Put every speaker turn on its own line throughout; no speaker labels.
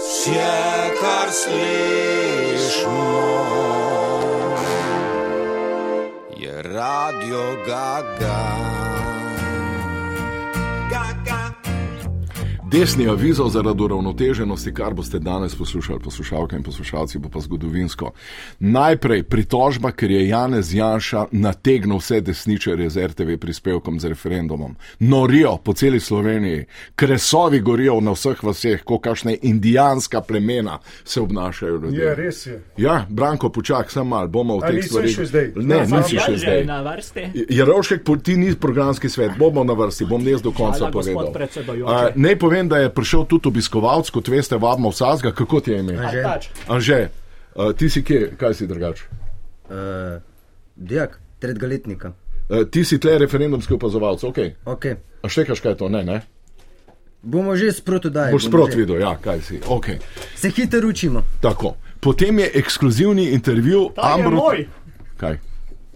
Все, кар slišimo, je radio Gaga. Gaga.
Desni avizo zaradi uravnoteženosti, kar boste danes poslušali, poslušalke in poslušalci, bo pa zgodovinsko. Najprej pritožba, ker je Janez Janša nategnil vse desničarje z RTV prispevkom z referendumom. Norijo po celi Sloveniji, kresovi gorijo na vseh vseh, kot kakšne indijanska plemena se obnašajo ljudje.
Je, res je.
Ja, Branko, počakaj, samo malo, bomo v
A
teh
nisi
stvareh.
še zdaj?
Ne,
No,
nisi še zdaj. Ja,
Na vrsti.
Jarovšek, po- ti nisi programski svet, bomo na vrsti, bom jaz do konca
Hvala, gospod
povedal.
predsedujoči.
A, Naj povem, da je prišel tudi obiskovalec, kot veste, vabimo vsazga, kako ti je ime.
Že.
Pač.
Anže, a, ti si kje, kaj si drugače?
Uh, dijak, tretjega letnika.
Ti si tle referendumski opazovalec, ok.
Okay.
A štekaš kaj je to, ne, ne?
Bomo že sproti dali.
Boš sprot videl, ja, kaj si, ok.
Se hitro učimo.
Tako. Potem je ekskluzivni intervju
To je
Ambro.
moj,
Kaj?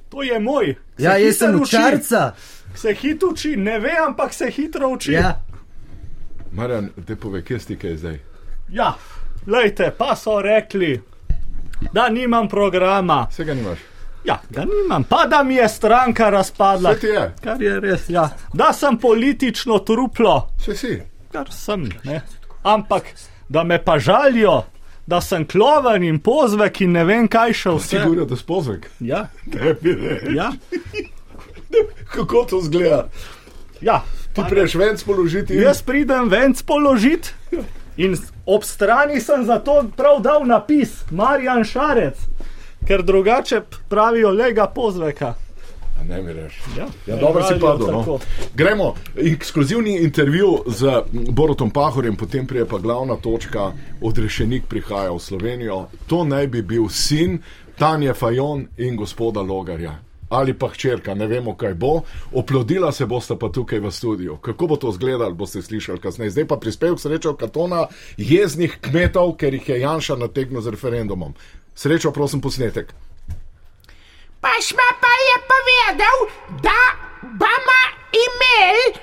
to je moj. Se
Ja, jaz
hitro
sem
uči.
učarca.
Se hitro uči, ne ve, ampak se hitro uči.
Ja.
Marjan, te pove, kje si kaj zdaj?
ja. Lejte, pa so rekli, da nimam programa.
Vsega nimaš.
Ja, da nimam, pa da mi je stranka razpadla.
Vse ti je,
Kar je res, ja. Da sem politično truplo,
vse si.
kar sem. Ne. Ampak da me pa žalijo, da sem kloven in pozvek in ne vem kaj še
Vsi
vse.
govorijo, da spozek.
Ja,
Ne bi rekel.
ja,
Kako to zgleda?
ja.
Tu prejš ven spoložiti. in-
Jaz pridem ven spoložiti in s- ob strani sem zato prav dal napis Marjan Šarec, ker drugače p- pravijo lega pozveka.
A Ne mi reši.
Ja,
Ja, dobro si
Pravijo
padel. No.
tako.
Gremo, ekskluzivni intervju z Borotom Pahorjem, potem prije pa glavna točka, odrešenik prihaja v Slovenijo. To naj bi bil sin Tanja Fajon in gospoda Logarja. Ali pa hčerka, ne vemo, kaj bo, oplodila se bosta pa tukaj v studiu. Kako bo to izgledalo, boste slišali kasneje. Zdaj pa prispevek srečo Katona jeznih kmetov, ker jih je Janša nategnil z referendumom. Srečo, prosim, posnetek.
Paš ma pa je povedal, da bomo imeli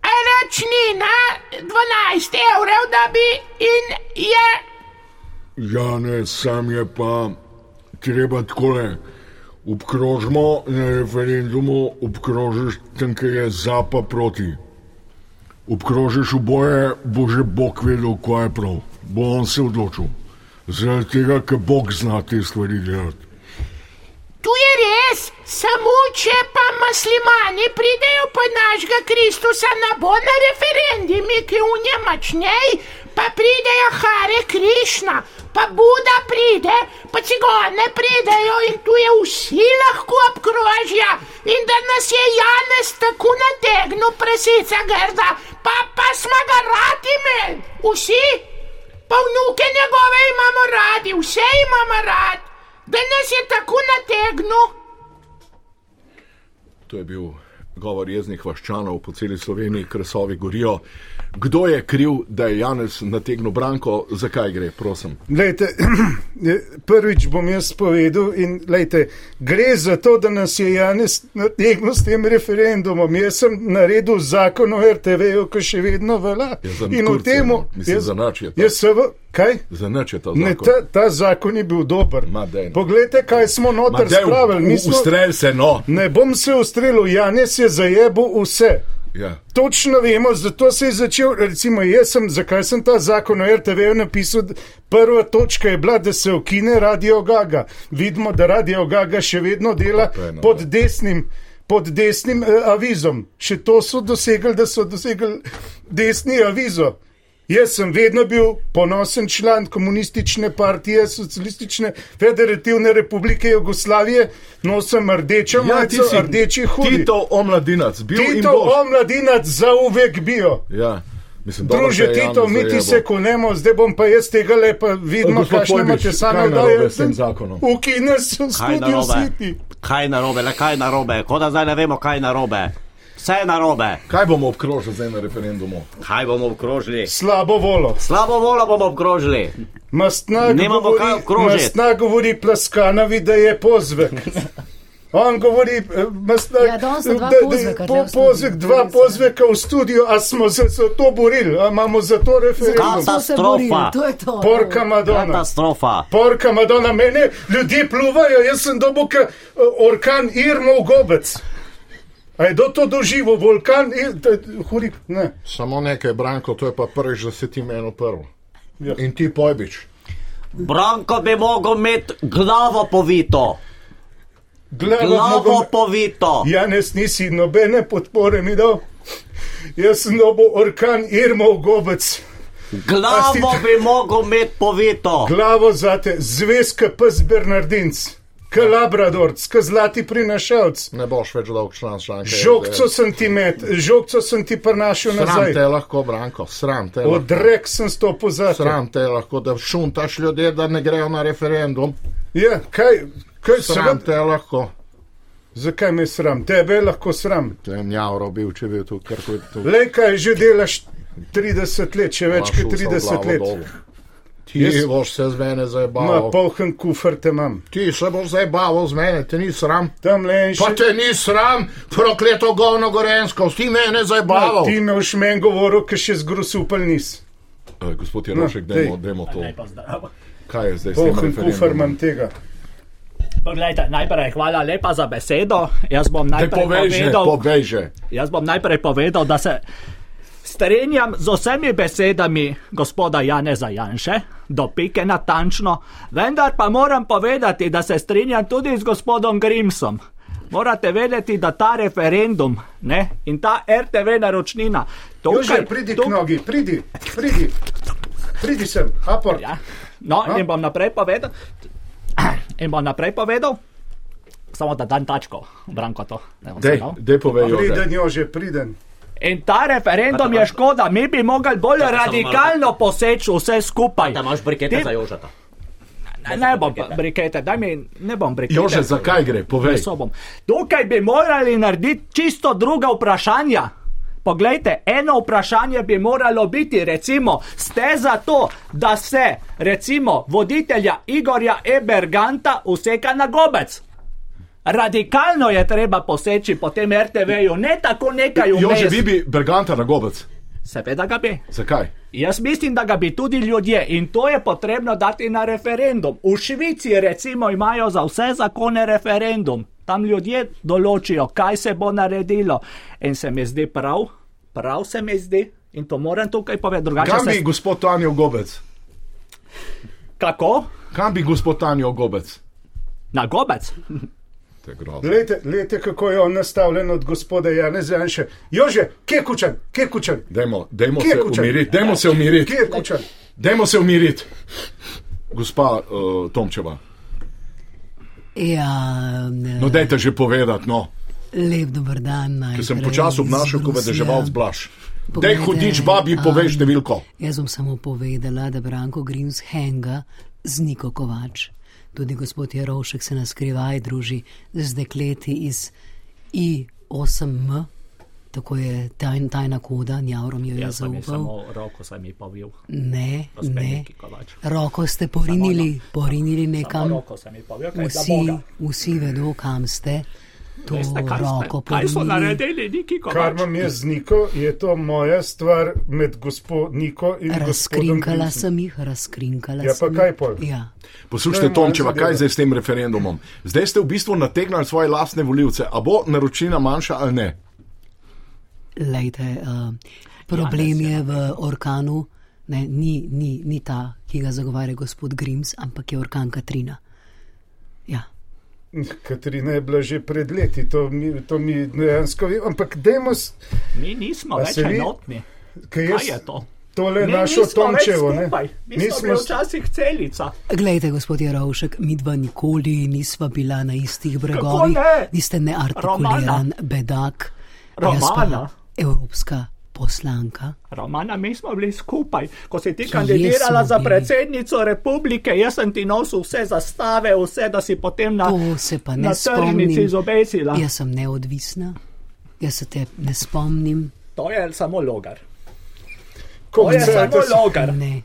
računina 12 evrov, da bi in je.
Ja, ne, sam je pa treba takole. Obkrožimo na referendumu, obkrožiš tam, kjer je za, pa proti. Obkrožiš oboje, bo že Bog vedel, kaj je prav. Bo on se odločil. Zaradi tega, ker Bog zna te stvari delati.
Tu je res, samo če pa muslimani pridejo pa našega Kristusa na bo na referendumi, ki v njemačnej, pa pridejo Hare Krišna, pa Buda pride, pa cigone pridejo in tu je vsi lahko obkrožja in da nas je Janez tako nategnil presica grda, pa pa smo ga radi imeli, vsi, pa vnuke njegove imamo radi, vse imamo radi. Da nas je tako nategnil,
To je bil govor jeznih vaščanov po celi Sloveniji, kresovi gorijo. Kdo je kriv, da je Janez nategnil branko, zakaj gre, prosim?
Lejte, prvič bom jaz povedal, in lejte, gre za to, da nas je Janez nategnil s tem referendumom. Jaz sem naredil zakon o RTV-ju, ki še vedno velja.
Ja, za
in
Turcijo,
temu-
no. Mislim,
jaz-
za nač je to.
Jaz se v. Kaj?
Zanač je ta
Ne,
zakon.
ta, ta zakon je bil dober.
Ma, daj, no.
Poglejte, kaj smo noter spravili. Mi smo-
ustrel se, no.
Ne bom se ustrelil, Janez je zajebo vse.
Ja.
Točno vemo, zato se je začel. Recimo, jaz sem, zakaj sem ta zakon o RTV napisal. Prva točka je bila, da se ukine Radio Gaga. Vidimo, da Radio Gaga še vedno dela
To je noro.
pod desnim. Pod desnim eh, avizom. Še to so dosegli, da so dosegli desni avizo. Jaz sem vedno bil ponosen član komunistične partije, socialistične federativne republike Jugoslavije, nosem rdečo ja, majico, rdeči hudi.
Tito omladinac, bil in
Tito
boš.
omladinac zauvek bio.
Ja. Mislim, dobro, da
Druže
je
Tito,
Janez ja,
mi ti
zajebo.
se konemo, zdaj bom pa jaz tega lepa vidno,
Gospod
kakšne
Pojbič,
imate
kaj
same
je narobe
daje.
s tem zakonom?
Ukine se v
Kaj je
studiu
narobe?
siti.
Kaj je narobe, le kaj je narobe, kot da zdaj ne vemo, kaj je narobe. Vse je narobe,
Kaj bomo obkrožili zdaj na referendumu?
kaj bomo obkrožili.
Slabo volo.
Slabo voljo bomo obkrožili.
Mastna
Nemamo
govori,
kaj obkrožiti.
mastna govori plaskanavi, da je pozvek. On govori, eh, masna,
Ja, danes sta dva pozveka tule v studiu.
pozvek, dva
Res je.
pozveka v studiu, a smo za, za to borili, a imamo za to referendum.
Kata-
Smo se borili,
Katastrofa.
To je to.
Porka Madonna.
Katastrofa.
Porka Madonna, mene ljudje pluvajo, jaz sem dobil ka, eh, orkan Irmo v gobec. A je do to doživel, vulkan, Ir- t- t- hurik, ne.
Samo nekaj, Branko, to je pa prvič, da si ti meni prvo.
Ja.
In ti pojbič.
Branko bi mogel imeti glavo povito. Glavo
Glavo,
povito.
Janes nisi nobene podpore mi dal. Jaz sem dobil orkan Irmo v gobec.
Glavo bi mogel imeti povito.
Glavo zate, zvezka pes Bernardinc, k Labradorc, k zlati prinašalc.
Ne boš več dolg član Ja, članka.
Žogco sem ti met, žogco sem ti prinašal
Sram
nazaj.
te lahko, Branko, sram te. lahko.
Odrek sem stopil za
Sram te lahko, da šuntaš ljudi, da ne grejo na referendum.
Ja, kaj, kaj
Sram
sram?
te lahko.
Ja, Zakaj me sram? Tebe lahko sram.
To je njavro bil, če bi tu karkoli tu.
Lej, kaj že delaš 30 let, če več
Imaš
kot
usta v
30
glavo
let.
dol. Ti
Jaz-
boš se z mene
Ma
zabaval.
polhen kufr te imam.
Ti se boš zabaval z mene, te ni sram.
Tam le en
Pa
še.
te ni sram, prokleto govno gorensko, ti mene
Ma,
zabaval.
No, Ti me už meni govoril, ker še zgrusupel nis.
Eh, Gospod
Jerovšek, No, daj. dajmo-
to.
Lepo zdrav.
Kaj je zdaj s
Polhen kufr imam tega.
Poglejte, najprej hvala lepa za besedo. Jaz bom najprej povedal,
povej že.
jaz bom najprej povedal da se strinjam z vsemi besedami gospoda Janeza Janše, do pike natančno, vendar pa moram povedati, da se strinjam tudi z gospodom Grimsom. Morate vedeti, da ta referendum ne, in ta RTV naročnina,
Jože, pridi k nogi, pridi, pridi. Pridi sem, apor.
Ja. No,
No.
in bom naprej povedal. In bom naprej povedal. Samo da dan tačko, branko to. Ne bom se
Dej,
dal.
dej povej, Jože.
Priden, Jože, priden.
In ta referendum je škoda, mi bi mogli bolj radikalno poseči vse skupaj.
Da imaš brikete
Ti-
za jožata.
Ne, ne bom pa- brikete, daj mi, ne bom brikete.
Jože, zakaj gre? Povej.
sobom. Tukaj bi morali narediti čisto druga vprašanja. Poglejte, eno vprašanje bi moralo biti, recimo, ste za to, da se, recimo, voditelja Igorja Eberganta useka na gobec. Radikalno je treba poseči po tem RTV-ju, ne tako nekaj umeti.
Jože, vi bi Berganta na gobec.
Seveda ga bi.
Zakaj?
Jaz mislim, da ga bi tudi ljudje in to je potrebno dati na referendum. V Švici, recimo, imajo za vse zakone referendum. Tam ljudje določijo, kaj se bo naredilo. In se mi zdi prav, prav se mi zdi. In to moram tukaj povedati, drugače
Kam
se...
bi gospod Tanjo gobec?
Kako?
Kam bi gospod Tanjo gobec?
Na gobec.
To je grozno.
Glejte, glejte, kako je on nastavljen od gospoda Janeza Janše. Jože, kje je kučan, kje je kučan,
Dajmo, dajmo
Kje je
se
Kučan?
umiriti, dajmo se umiriti,
kje je kučan?
dajmo se umiriti. Gospa uh, Tomčeva,
Ja,
no dajte že povedati, no,
lep dober dan.
ker
Najprej.
sem počasi obnašal, ko vedeževal z blaš. Dej
Poglejte,
hudič, babi, povej
am,
številko.
Jaz bom samo povedala, da Branko Grims henga z Niko Kovač. Tudi gospod Jarovšek se naskrivaj druži z dekleti iz I8M, tako je tajn, tajna koda, Njavrom jo je
Jaz sem jim
zaupal.
samo roko sem jim povil.
Ne,
Gospe
ne.
Niki Kovač.
Roko ste porinili, porinili
Samo
nekam.
Roko sem jim povil, kaj za
Vsi,
Boga.
vsi vedo, kam ste. To
Veste, kaj,
roko
ste, kaj so
porinili.
naredili, Niki
Kar
Kovač?
imam jaz z Niko, je to moja stvar med gospod Niko in gospodom.
Razkrinkala
Grimsom.
sem jih, razkrinkala
Ja, pa
sem
kaj
jih.
pol?
Ja.
To je
Poslušajte,
moja
Tomčeva,
zadeva.
kaj zdaj s tem referendumom? Zdaj ste v bistvu nategnali svoje lastne voljivce. A bo naročnina manjša ali ne?
Lejte, uh,
Ja,
problem
no.
je v orkanu, ne, ni, ni, ni ta, ki ga zagovarja gospod Grims, ampak je orkan Katrina. Ja.
Katarina je bila že pred leti, to mi, to mi dejansko ve, ampak dajmo, s-
Mi nismo
A
več
se vi-
enotni.
kaj
Kaj
jaz,
je to?
tole
Mi
našo
nismo več
Tomčevo, ne?
skupaj. Mi smo bili včasih celica.
Glejte, gospod Jarovšek, midva nikoli nisva bila na istih bregovih.
ne?
Vi ste neartikuliran
Romana.
bedak, jaz pa
Romana.
evropska poslanka.
Romana, mi smo bili skupaj. Ko si ti
Kje
kandidirala
smo
za
bili?
predsednico republike, jaz sem ti nosil vse zastave, vse, da si potem na,
To se pa ne
na tržnici
spomnim.
izobesila.
Jaz sem neodvisna, jaz se te ne spomnim.
To je samo logar. To je samo
Koliko
logar.
Ne.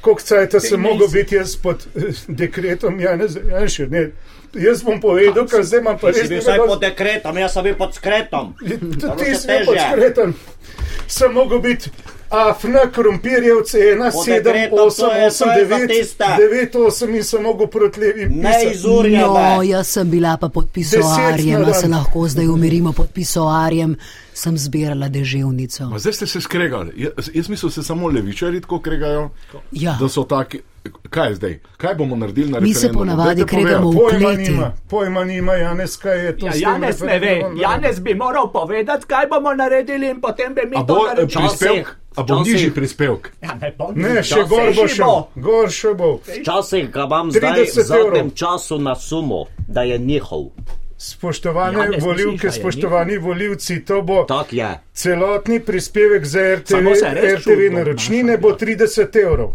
koliko cajta sem
Trinajst.
mogel biti jaz pod eh, dekretom Janeza Janša. Ne. Jaz bom povedal, kar zdaj imam pa
Ti si
res.
bil
nekaj
vsaj
dosti-
pod dekretom, jaz sem bil pod skretom.
Tudi
Dobro
ti
se
si bil
težje.
pod skretom. Sem mogel biti afna, krompirjevce 1,
Pod
7,
dekretom,
8,
to je-
8,
to je za
9,
tista.
9, 8 in sem mogel proti levi.
Ne
pisati.
izurja
No,
me.
jaz sem bila pa pod
Deset
pisoarjem,
na
a se
dan.
lahko zdaj umirimo pod pisoarjem, sem zbirala deževnico.
Pa zdaj ste se skregali. Jaz, jaz mislim, da se samo levičari tako kregajo.
Ja.
Da so taki. Kaj je zdaj? Kaj bomo naredili na
Mi se
referendumu?
ponavadi
Dajte
kregamo
povedati.
v
Pojma
kleti.
nima, pojma nima, Janez, kaj je to.
Ja,
s tem
Janez ne ve,
referendumom,
Janez bi moral povedati, kaj bomo naredili in potem bi mi
A
to
bo eh,
naredili.
prispevek? A bo
Včasih.
nižji prispevek?
Ja, ne, bom,
Ne, še
Včasih
gor bo
že
še,
bo.
gor še bo.
Včasih ga imam zdaj v
30 evrov.
zadnjem času na sumu, da je njihov.
Ja,
Spoštovane
Janez,
volivke,
misliš, da je
spoštovani volivci, to bo
Tak je.
celotni prispevek za RTV,
Samo se res
RTV
čudno
naročnine
obnaša,
bo
ja.
30 evrov.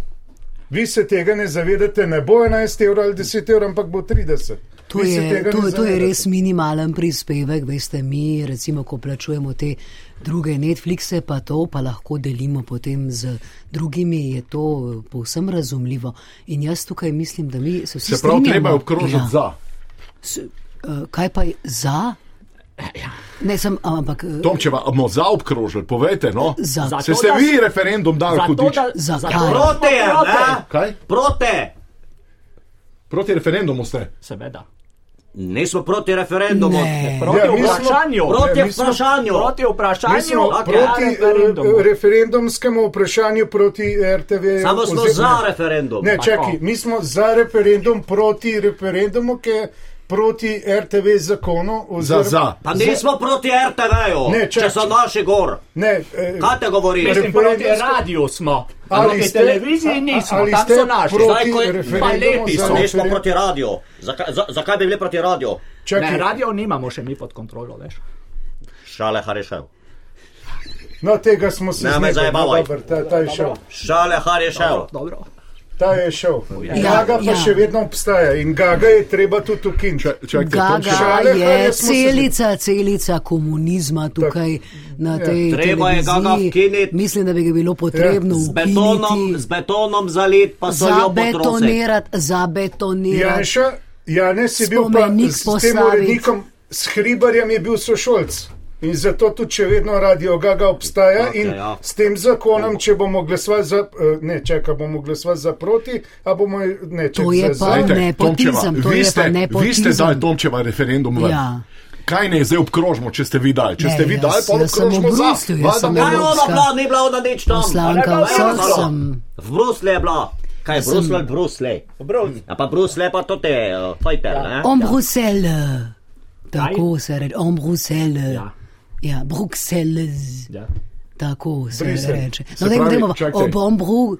Vi se tega ne zavedate, ne bo 11 evrov ali 10 evrov, ampak bo 30.
To
Vi se
je,
tega ne
to, je- to je
zavedate.
res minimalen prispevek, veste, mi recimo, ko plačujemo te druge Netflixe, pa to pa lahko delimo potem z drugimi, je to eh, povsem razumljivo. In jaz tukaj mislim, da mi se vsi
Se pravi,
strinjamo.
treba je obkrožiti ja. za.
Eh, Kaj pa je za? Ne, sem, ampak eh,
Tomčeva, a bomo za obkrožili, povejte, no.
Za. Zato,
Se ste
da-
vi referendum dali
Zato,
hudič?
da,
Zakaj?
Proti je, ne?
Kaj?
Proti!
Proti referendumu ste.
Seveda.
Nismo proti referendumu.
Ne.
Proti
Ja,
ja,
mi smo-
vprašanju.
Proti
Ne, mi smo-
vprašanju.
Proti
Mi
vprašanju.
smo
ok,
proti
ja,
eh,
referendumu.
referendumskemu vprašanju proti RTV.
Samo smo
oziroma-
za referendum.
Ne, čakaj,
Tako.
mi smo za referendum proti referendumu, ki je proti RTV zakonu.
Za,
oziroma-
za.
Pa nismo proti RTV-ju,
Ne,
če
čakaj.
so naši gor.
Ne, eh,
Kaj te govoriš?
Mislim, proti
referendumsko-
radiju smo.
Ali
Proti
ste- a-
televiziji
a-
nismo,
ali
tam
ste
so naši.
proti
Zdaj, ko je-
referendumu
Pa lepi
za-
so.
Ne,
Nismo
referendum.
proti radiju. Zakaj, za, zakaj bi bili proti radiju?
Ne,
čakaj.
radio nimamo še mi pod kontrolo, veš.
Šale Harišev.
No, tega smo se
Ne, me
znebili.
zajebavaj.
Dobro, ta, ta je šel.
Šale Harišev.
Dobro.
Ta je šel.
Ja,
Gaga pa
ja.
še vedno obstaja in Gaga je treba tudi ukiniti.
Čakajte, Tomčeva.
Gaga
Šale,
je
Harje smo se že-
celica, celica komunizma tukaj na
Ja.
tej
Treba je Gaga
televiziji.
ukiniti.
Mislim, da bi ga bilo potrebno
Ja.
Ja.
Z betonom,
ukiniti,
z betonom zalit, pa so jo potrosili.
zabetonirati, zabetonirati.
Janša, Janez je bil pa
Spomenik
s tem
postaviti.
urednikom, s Hribarjem je bil sošolc. In zato tudi, če vedno radio Gaga obstaja
Tako je,
in
ja.
s tem zakonom, če bomo glasovali za, eh, ne, čaka, bomo glasovali za proti, a bomo, ne, čaka,
To je
za,
pa-
za.
Dajte,
nepotizem,
Tomčeva,
to
vi
je pa
ste- Vi ste
nepotizem.
dali Tomčeva referendum ven.
Ja.
Kaj ne zdaj obkrožimo, če ste vi dali? Če
Ne,
ste vi
jaz-
dali, pa
jaz sem v
obkrožimo za.
Bruslju, jaz
Valjda
sem v
bomo-
Kaj je ona
Evropska.
bila, ni bila ona nič tam.
Poslanka
Ne, ne,
vseh
ne, ne.
sem.
V Bruslu je bila. Kaj je Brusel ali Brusle? A pa Brusle pa to te, uh, fajter, ne?
En Bruselj, tako se reče, en Bruselj.
Ja.
Ja, Bruselj.
Ja.
Tako se
Bruselj.
reče.
Se
No, dajmo,
pravi,
dajmo,
čakaj.
ob Ombru,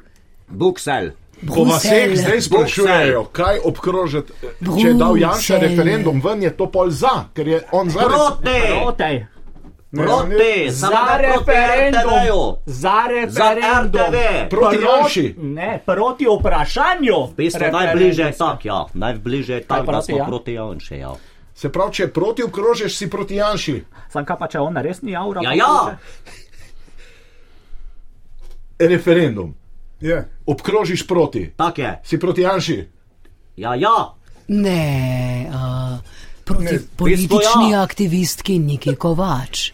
Buksel.
Ko vas vseh zdaj
Bruselj.
sprašujejo, kaj obkrožiti, eh, če je dal Janša
Bruselj.
referendum ven, je to pol za, ker je on za.
Proti!
Proti.
Proti! Samo
Za
ne proti RTV-ju.
referendum. Za
Za
referendum.
RTV!
Proti Janši.
Ne, proti vprašanju.
V bistvu
referendum.
najbližje je tak, ja. Najbližje je tak, da
proti,
smo
ja?
proti Janši, ja.
Se pravi, če proti obkrožiš, si proti Janši.
Sam kaj pa če ona res ni avra?
Ja,
pa
ja!
Referendum.
Ja.
Obkrožiš proti.
Tak je.
Si proti Janši.
Ja, ja!
Ne, uh, proti
Ne,
politični
ja.
aktivistki Niki Kovač.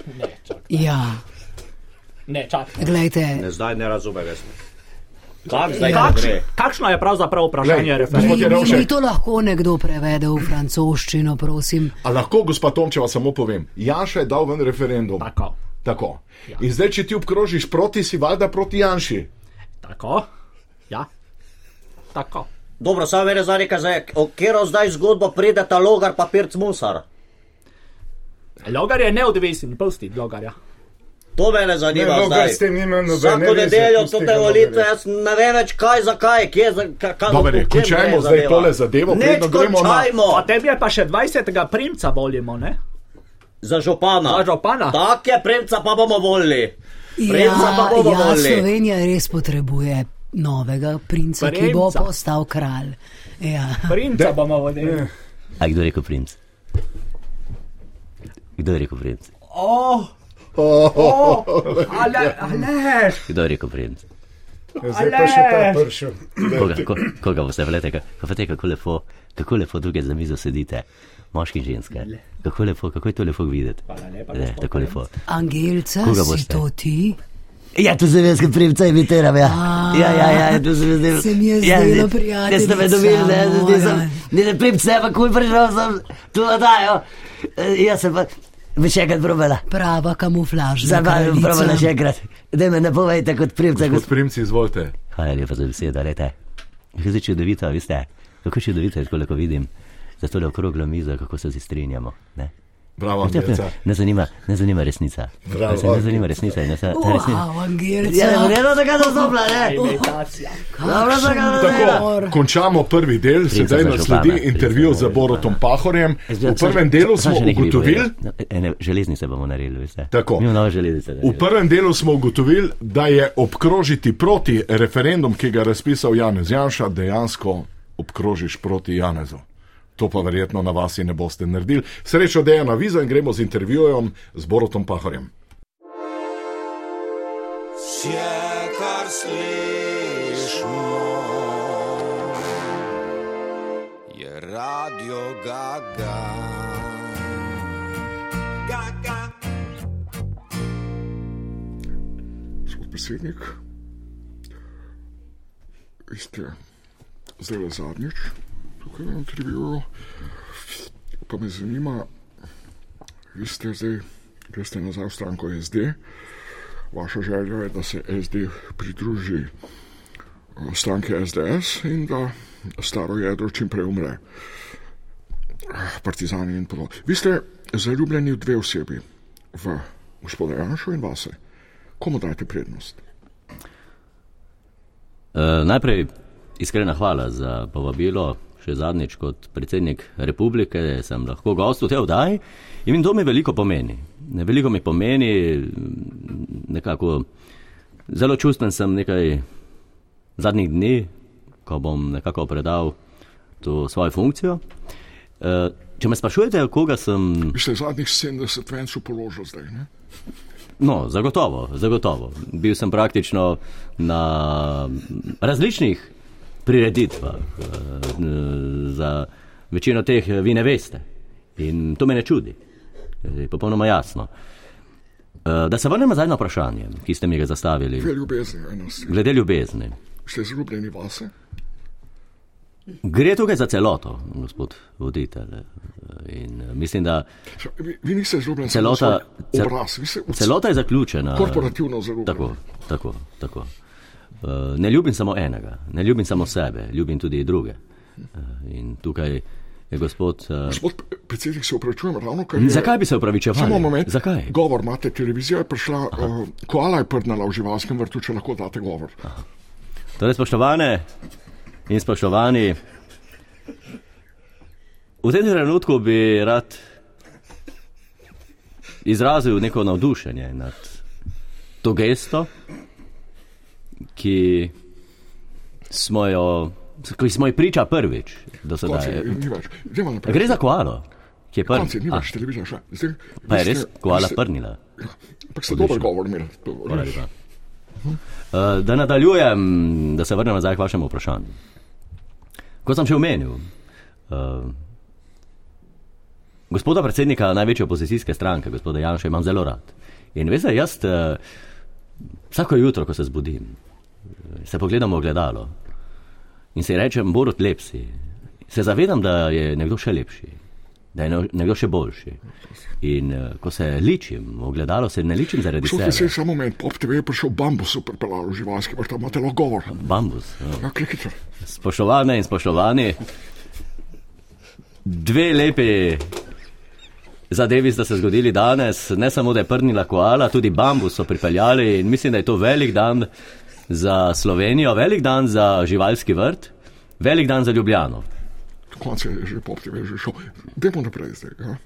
Ja,
Ne, čakaj.
gledajte,
Ne, zdaj ne razumem, jaz. Kak zdaj
Ja.
ja. gre?
Kakšno je pravzaprav vprašanje
Glej,
mi,
referenduma?
gospod
mi,
Jerovšek.
mi to lahko nekdo prevede v francoščino, prosim.
A lahko, gospod Tomčeva, samo povem, Janša je dal ven referendum.
Tako. Ja.
Tako. In zdaj, če ti obkrožiš proti, si valjda proti Janši.
Tako. Ja. Tako.
Dobro, samo vere za reka, zdaj, o katero zdaj zgodbo pride ta logar pa pirc musar.
Logar je neodvisen, pusti logarja.
To me ne zanima.
Ne, Logar
zdaj.
s tem nima nobene
Vsako
veze,
nedeljo so
pustite
te volitve,
Logarja.
jaz ne vem več kaj, zakaj, kje, za- ka- kaj.
Dobar je,
o čem
končajmo
gre
zdaj
zadeva.
tole zadevo,
Ne,
preden gremo na-
končajmo.
Potem je pa še 20. primca volimo, ne?
Za župana.
Za župana.
Tak je, premca pa bomo volili.
Ja,
Premca pa bomo
ja,
volili.
Slovenija res potrebuje novega princa, ki bo
Princa.
postal kralj. Ja.
Primca bomo volili.
A kdo je rekel princ? Kdo je rekel princ?
Oh. O, o, ale, ale,
Kdo je rekel princ?
Ja, Zdaj pa še ta pršil.
Koga, ko, koga boste vlete, kako, kako, lepo, kako lepo tukaj za mizo sedite, moški in ženske. Kako lepo, kako je to lepo videti. Ne, tako lepo.
Angelca,
Koga
si
boste?
to ti?
Ja, tu sem jaz, ki primcaj imitiram. Ja. ja, ja, ja, tu sem jaz.
Se mi je
ja,
zdelo,
ne- Ne ste me
prijateljica
dobili, ne, ne, ne,
moja.
sem, ne, ne primcaj, pa kul prišel sem, tu da dajo. Eh, Jaz sem pa, bi še enkrat probala.
Prava kamuflažna.
Zdaj pa bom
kraljica.
probala še enkrat. Da me ne povejte kot primcaj.
Gospod Primci, izvolite.
Hvala lepa za besedo, rete. Kako je čudovito, veste, kako čudovito je, tako, ko vidim za tole okroglo mizo, kako se vsi strinjamo. Ne?
Bravo,
Ne,
Angelca.
ne, zanima, ne zanima resnica.
Bravo.
Ne, ne zanima resnica. Ne, ta, ta resnica.
Wow, Angelca.
Ja, ne, ne, tako da zopla, ne. Dobro, da ga
Tako,
Or.
končamo prvi del, sedaj
za
nasledi
župana,
intervju
priza za
z Borutom
župana.
Pahorjem. V prvem delu smo ugotovili,
No, Ene železnice bomo naredili, veste.
Tako.
Mi bomo nove železnice.
V
naredili.
prvem delu smo ugotovili, da je obkrožiti proti referendum, ki ga je razpisal Janez Janša, dejansko obkrožiš proti Janezu. To pa verjetno na vas ne boste naredili. Srečo, da je na vizo in gremo z intervjujem z Borutom Pahorjem.
Vse, kar slišimo, je radio Gaga. Gaga.
Gospod predsednik, vi ste zdaj le zadnjič tukaj na intervjuju, pa me zanima, vi ste zdaj, greste nazaj v stranko SD, vaša želja je, da se SD pridruži eh, stranke SDS in da staro jedro čim prej umre. Eh, Partizani in podobno. Vi ste zaljubljeni v dve osebi, v gospoda Janša in vase. Komu dajete prednost?
Eh, najprej iskrena hvala za povabilo. Še zadnjič kot predsednik republike sem lahko gost v tej oddaji in to mi veliko pomeni. Ne, Veliko mi pomeni, mm, nekako zelo čustven sem nekaj zadnjih dni, ko bom nekako predal to svojo funkcijo. Eh, Če me sprašujete, koga sem
Vi ste zadnjih 70 vencev položili zdaj. Ne?
No, zagotovo, zagotovo. Bil sem praktično na različnih prireditvah. eh, Za večino teh eh, vi ne veste. In to me ne čudi. Je popolnoma jasno. Eh, Da se vrnem nazaj na vprašanje, ki ste mi ga
Dve
zastavili,
ljubezni, enosti.
glede ljubezni.
Ste zaljubljeni vase?
Gre tukaj za celoto, gospod voditelj. eh, In eh, mislim, da
Še- Vi, vi niste zaljubljeni samo v
celota,
svoj obraz, vi ste v
celota je zaključena.
korporativno zaljubljeni.
Tako, tako, tako. Eh, Ne ljubim samo enega, ne ljubim samo sebe, ljubim tudi druge. Eh, In tukaj je gospod. eh,
Gospod p- predsednik, se upravičujem, ravno kar je.
Zakaj bi se upravičeval?
Samo moment.
Zakaj?
Govor imate, televizija je prišla, uh, koala je prdnala v živalskem vrtu, če lahko date govor.
Torej, spoštovane in spoštovani, v tem trenutku bi rad izrazil neko navdušenje nad to gesto, ki smo jo, ki smo ji priča prvič do
Konci,
sedaj.
ni več. Gremo naprej.
Gre za koalo, ki je
Konci, ni
prvi.
več, televizija še. Zdaj,
Pa je
vi
res
ste- vi
koala
ste-
prnila.
Ampak ste dober govor imeli. to-
Hvala lepa. Eh, Da nadaljujem, da se vrnem nazaj k vašemu vprašanju. Kot sem že omenil, eh, gospoda predsednika največje opozicijske stranke, gospoda Janša, imam zelo rad. In veste, jaz eh, vsako jutro, ko se zbudim, eh, se pogledam v ogledalo in si rečem, Borut, lep si. Se zavedam, da je nekdo še lepši, da je ne- nekdo še boljši. In eh, ko se ličim v ogledalo, se ne ličim zaradi
Gospod predsednik,
sebe.
samo moment, pop TV je prišel bambus, pripeljal v živalski vrt, tam imate lahko govor.
Bambus. Ja.
Ja, klikite.
Spoštovane in spoštovani, dve lepi zadevi sta se zgodili danes. Ne samo, da je prnila koala, tudi bambus so pripeljali in mislim, da je to velik dan za Slovenijo, velik dan za živalski vrt, velik dan za Ljubljano.
Konec je že pop TV, je že šel. Dajmo naprej zdaj. Ja.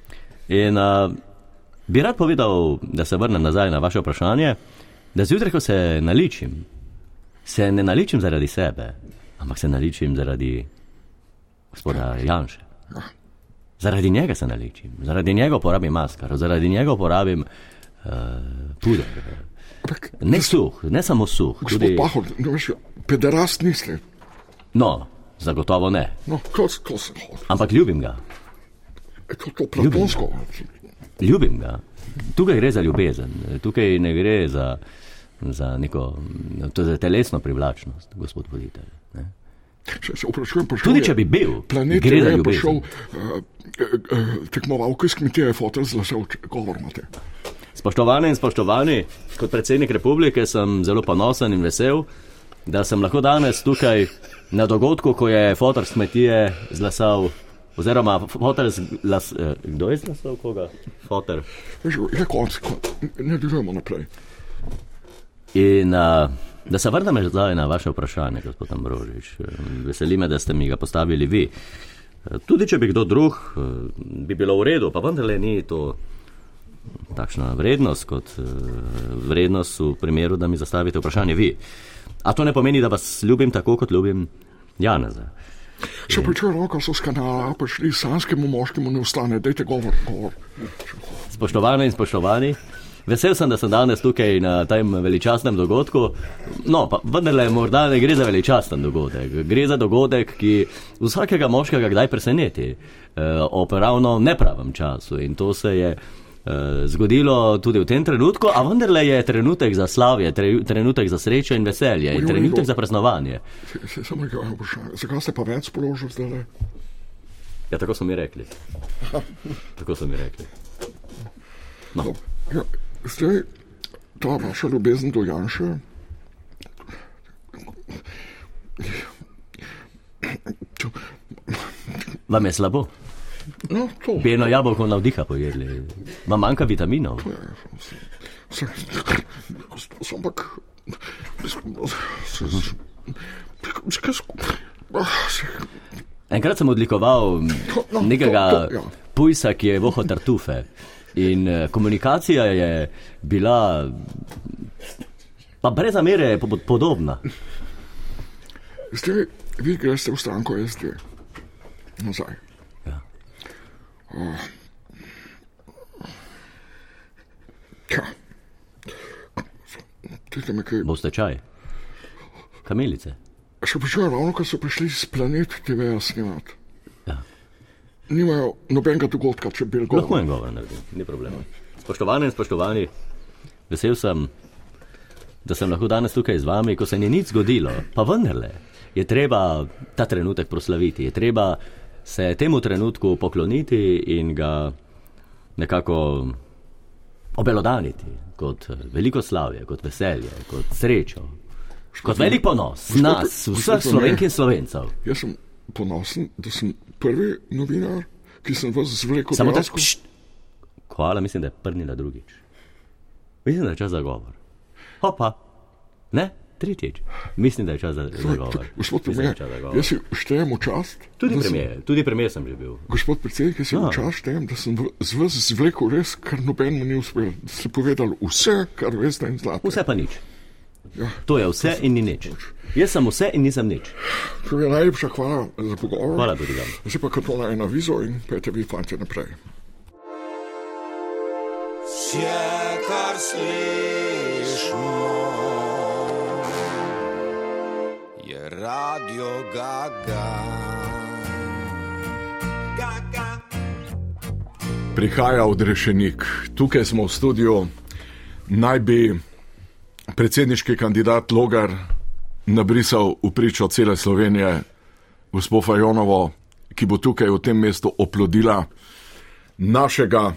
In uh, bi rad povedal, da se vrnem nazaj na vaše vprašanje, da zjutraj, ko se naličim, se ne naličim zaradi sebe, ampak se naličim zaradi gospoda Janša. Zaradi njega se naličim, zaradi njega uporabim maskaro, zaradi njega uporabim uh, e, puder. Ne sluh, ne samo sluh.
Gospod
Tudi...
Pahor, ne veš, pederast niste.
No, zagotovo ne,
No, ko, ko sem hodil,
ampak ljubim ga.
E, to, to platonsko.
Ljubim ga. Tukaj gre za ljubezen, tukaj ne gre za, za neko to je za telesno privlačnost, gospod voditelj. ne.
Še se vprašujem, pa še
Tudi če bi bil,
Planet
gre za
je prišel,
ljubezen.
uh, uh, tekmovalke s kmetije, fotor zlašel, govor imate.
Spoštovane in spoštovani, kot predsednik republike sem zelo ponosen in vesel, da sem lahko danes tukaj na dogodku, ko je fotor s kmetije zlasal. Oziroma, fotor z glas. eh, Kdo je zlasal koga? Fotor.
Veš, je konc, konc. ne delujemo naprej.
In uh, da se vrnem nazaj na vaše vprašanje, gospod Ambrožič. Eh, Veseli me, da ste mi ga postavili vi. Eh, Tudi če bi kdo drug, eh, bi bilo v redu, pa vendarle ni to takšna vrednost kot eh, vrednost v primeru, da mi zastavite vprašanje vi. A to ne pomeni, da vas ljubim tako, kot ljubim Janeza.
Še pričujem, roka so s kanala, pa šli sanskemu moškemu ne ustane, dajte govor, govor.
Spoštovane in spoštovani, vesel sem, da sem danes tukaj na tem veličastnem dogodku. No, pa vendarle, morda ne gre za veličasten dogodek. Gre za dogodek, ki vsakega moškega kdaj preseneti eh, ob ravno nepravem času. In to se je eh, zgodilo tudi v tem trenutku, a vendarle je trenutek za slavje, tre, trenutek za srečo in veselje, in
Ujoj,
trenutek
Igor.
za praznovanje.
Se- se- Samo nekaj eno vprašanje, zakaj ste pa več položil zdaj?
Ja, tako so mi rekli. Tako so mi rekli.
Ja, zdaj, ta vaša ljubezen do Janša.
Vam je slabo?
No, to
Bi eno jabolko navdiha pojedli, vam manjka vitaminov.
Sem, sem ampak. Zakaj skupaj?
Enkrat sem odlikoval
no,
nekega
to, to, ja.
pujsa, ki je voho tartufe. In eh, komunikacija je bila, pa brez zamere, po- podobna.
Zdaj, vi greste v stranko SD, nazaj.
Ja.
Uh, ja. Tite me kaj.
Boste čaj, kamelice.
Še počujem ravno, ko so prišli z planet TV-ja snimat.
Ja.
Nimajo nobenega dogodka, če bi bil
Lahko en govor naredim, ni problema. Spoštovane in spoštovani, vesel sem, da sem lahko danes tukaj z vami, ko se ni nič zgodilo, pa vendarle je treba ta trenutek proslaviti, je treba se temu trenutku pokloniti in ga nekako obelodaniti kot veliko slavje, kot veselje, kot srečo, kot velik ponos nas, vseh slovenk in slovencev.
Jaz sem ponosen, da sem prvi novinar, ki sem vas zvlekel.
Samo
dejansko-
tako. Koala mislim, da je prnila drugič. Mislim, da je čas za govor. Hopa, ne, tretjič. Mislim, da je čas za, za govor.
Gospod
Mislim, da je
premijer,
čas za govor.
jaz si štejem v čast.
Tudi
da sem-
premijer, tudi premijer sem že bil.
Gospod predsednik, jaz si
Ja.
v čast štejem, da sem v- z vas zvlekel res, kar nobenemu ni uspelo. Da Ste povedali vse, kar veste in znate.
Vse pa nič.
Ja.
To je vse in ni nič. Jaz sem vse in nisem nič.
Torej, najlepša hvala za pogovor.
Hvala tudi vam.
Zdaj pa katona ena vizo in pete vi fante naprej.
Siekar slišmo je radio Gaga. Gaga.
Prihaja odrešenik. Tukaj smo v studiu, naj bi predsedniški kandidat Logar nabrisal v pričo cele Slovenije, gospod Fajonovo, ki bo tukaj v tem mestu oplodila našega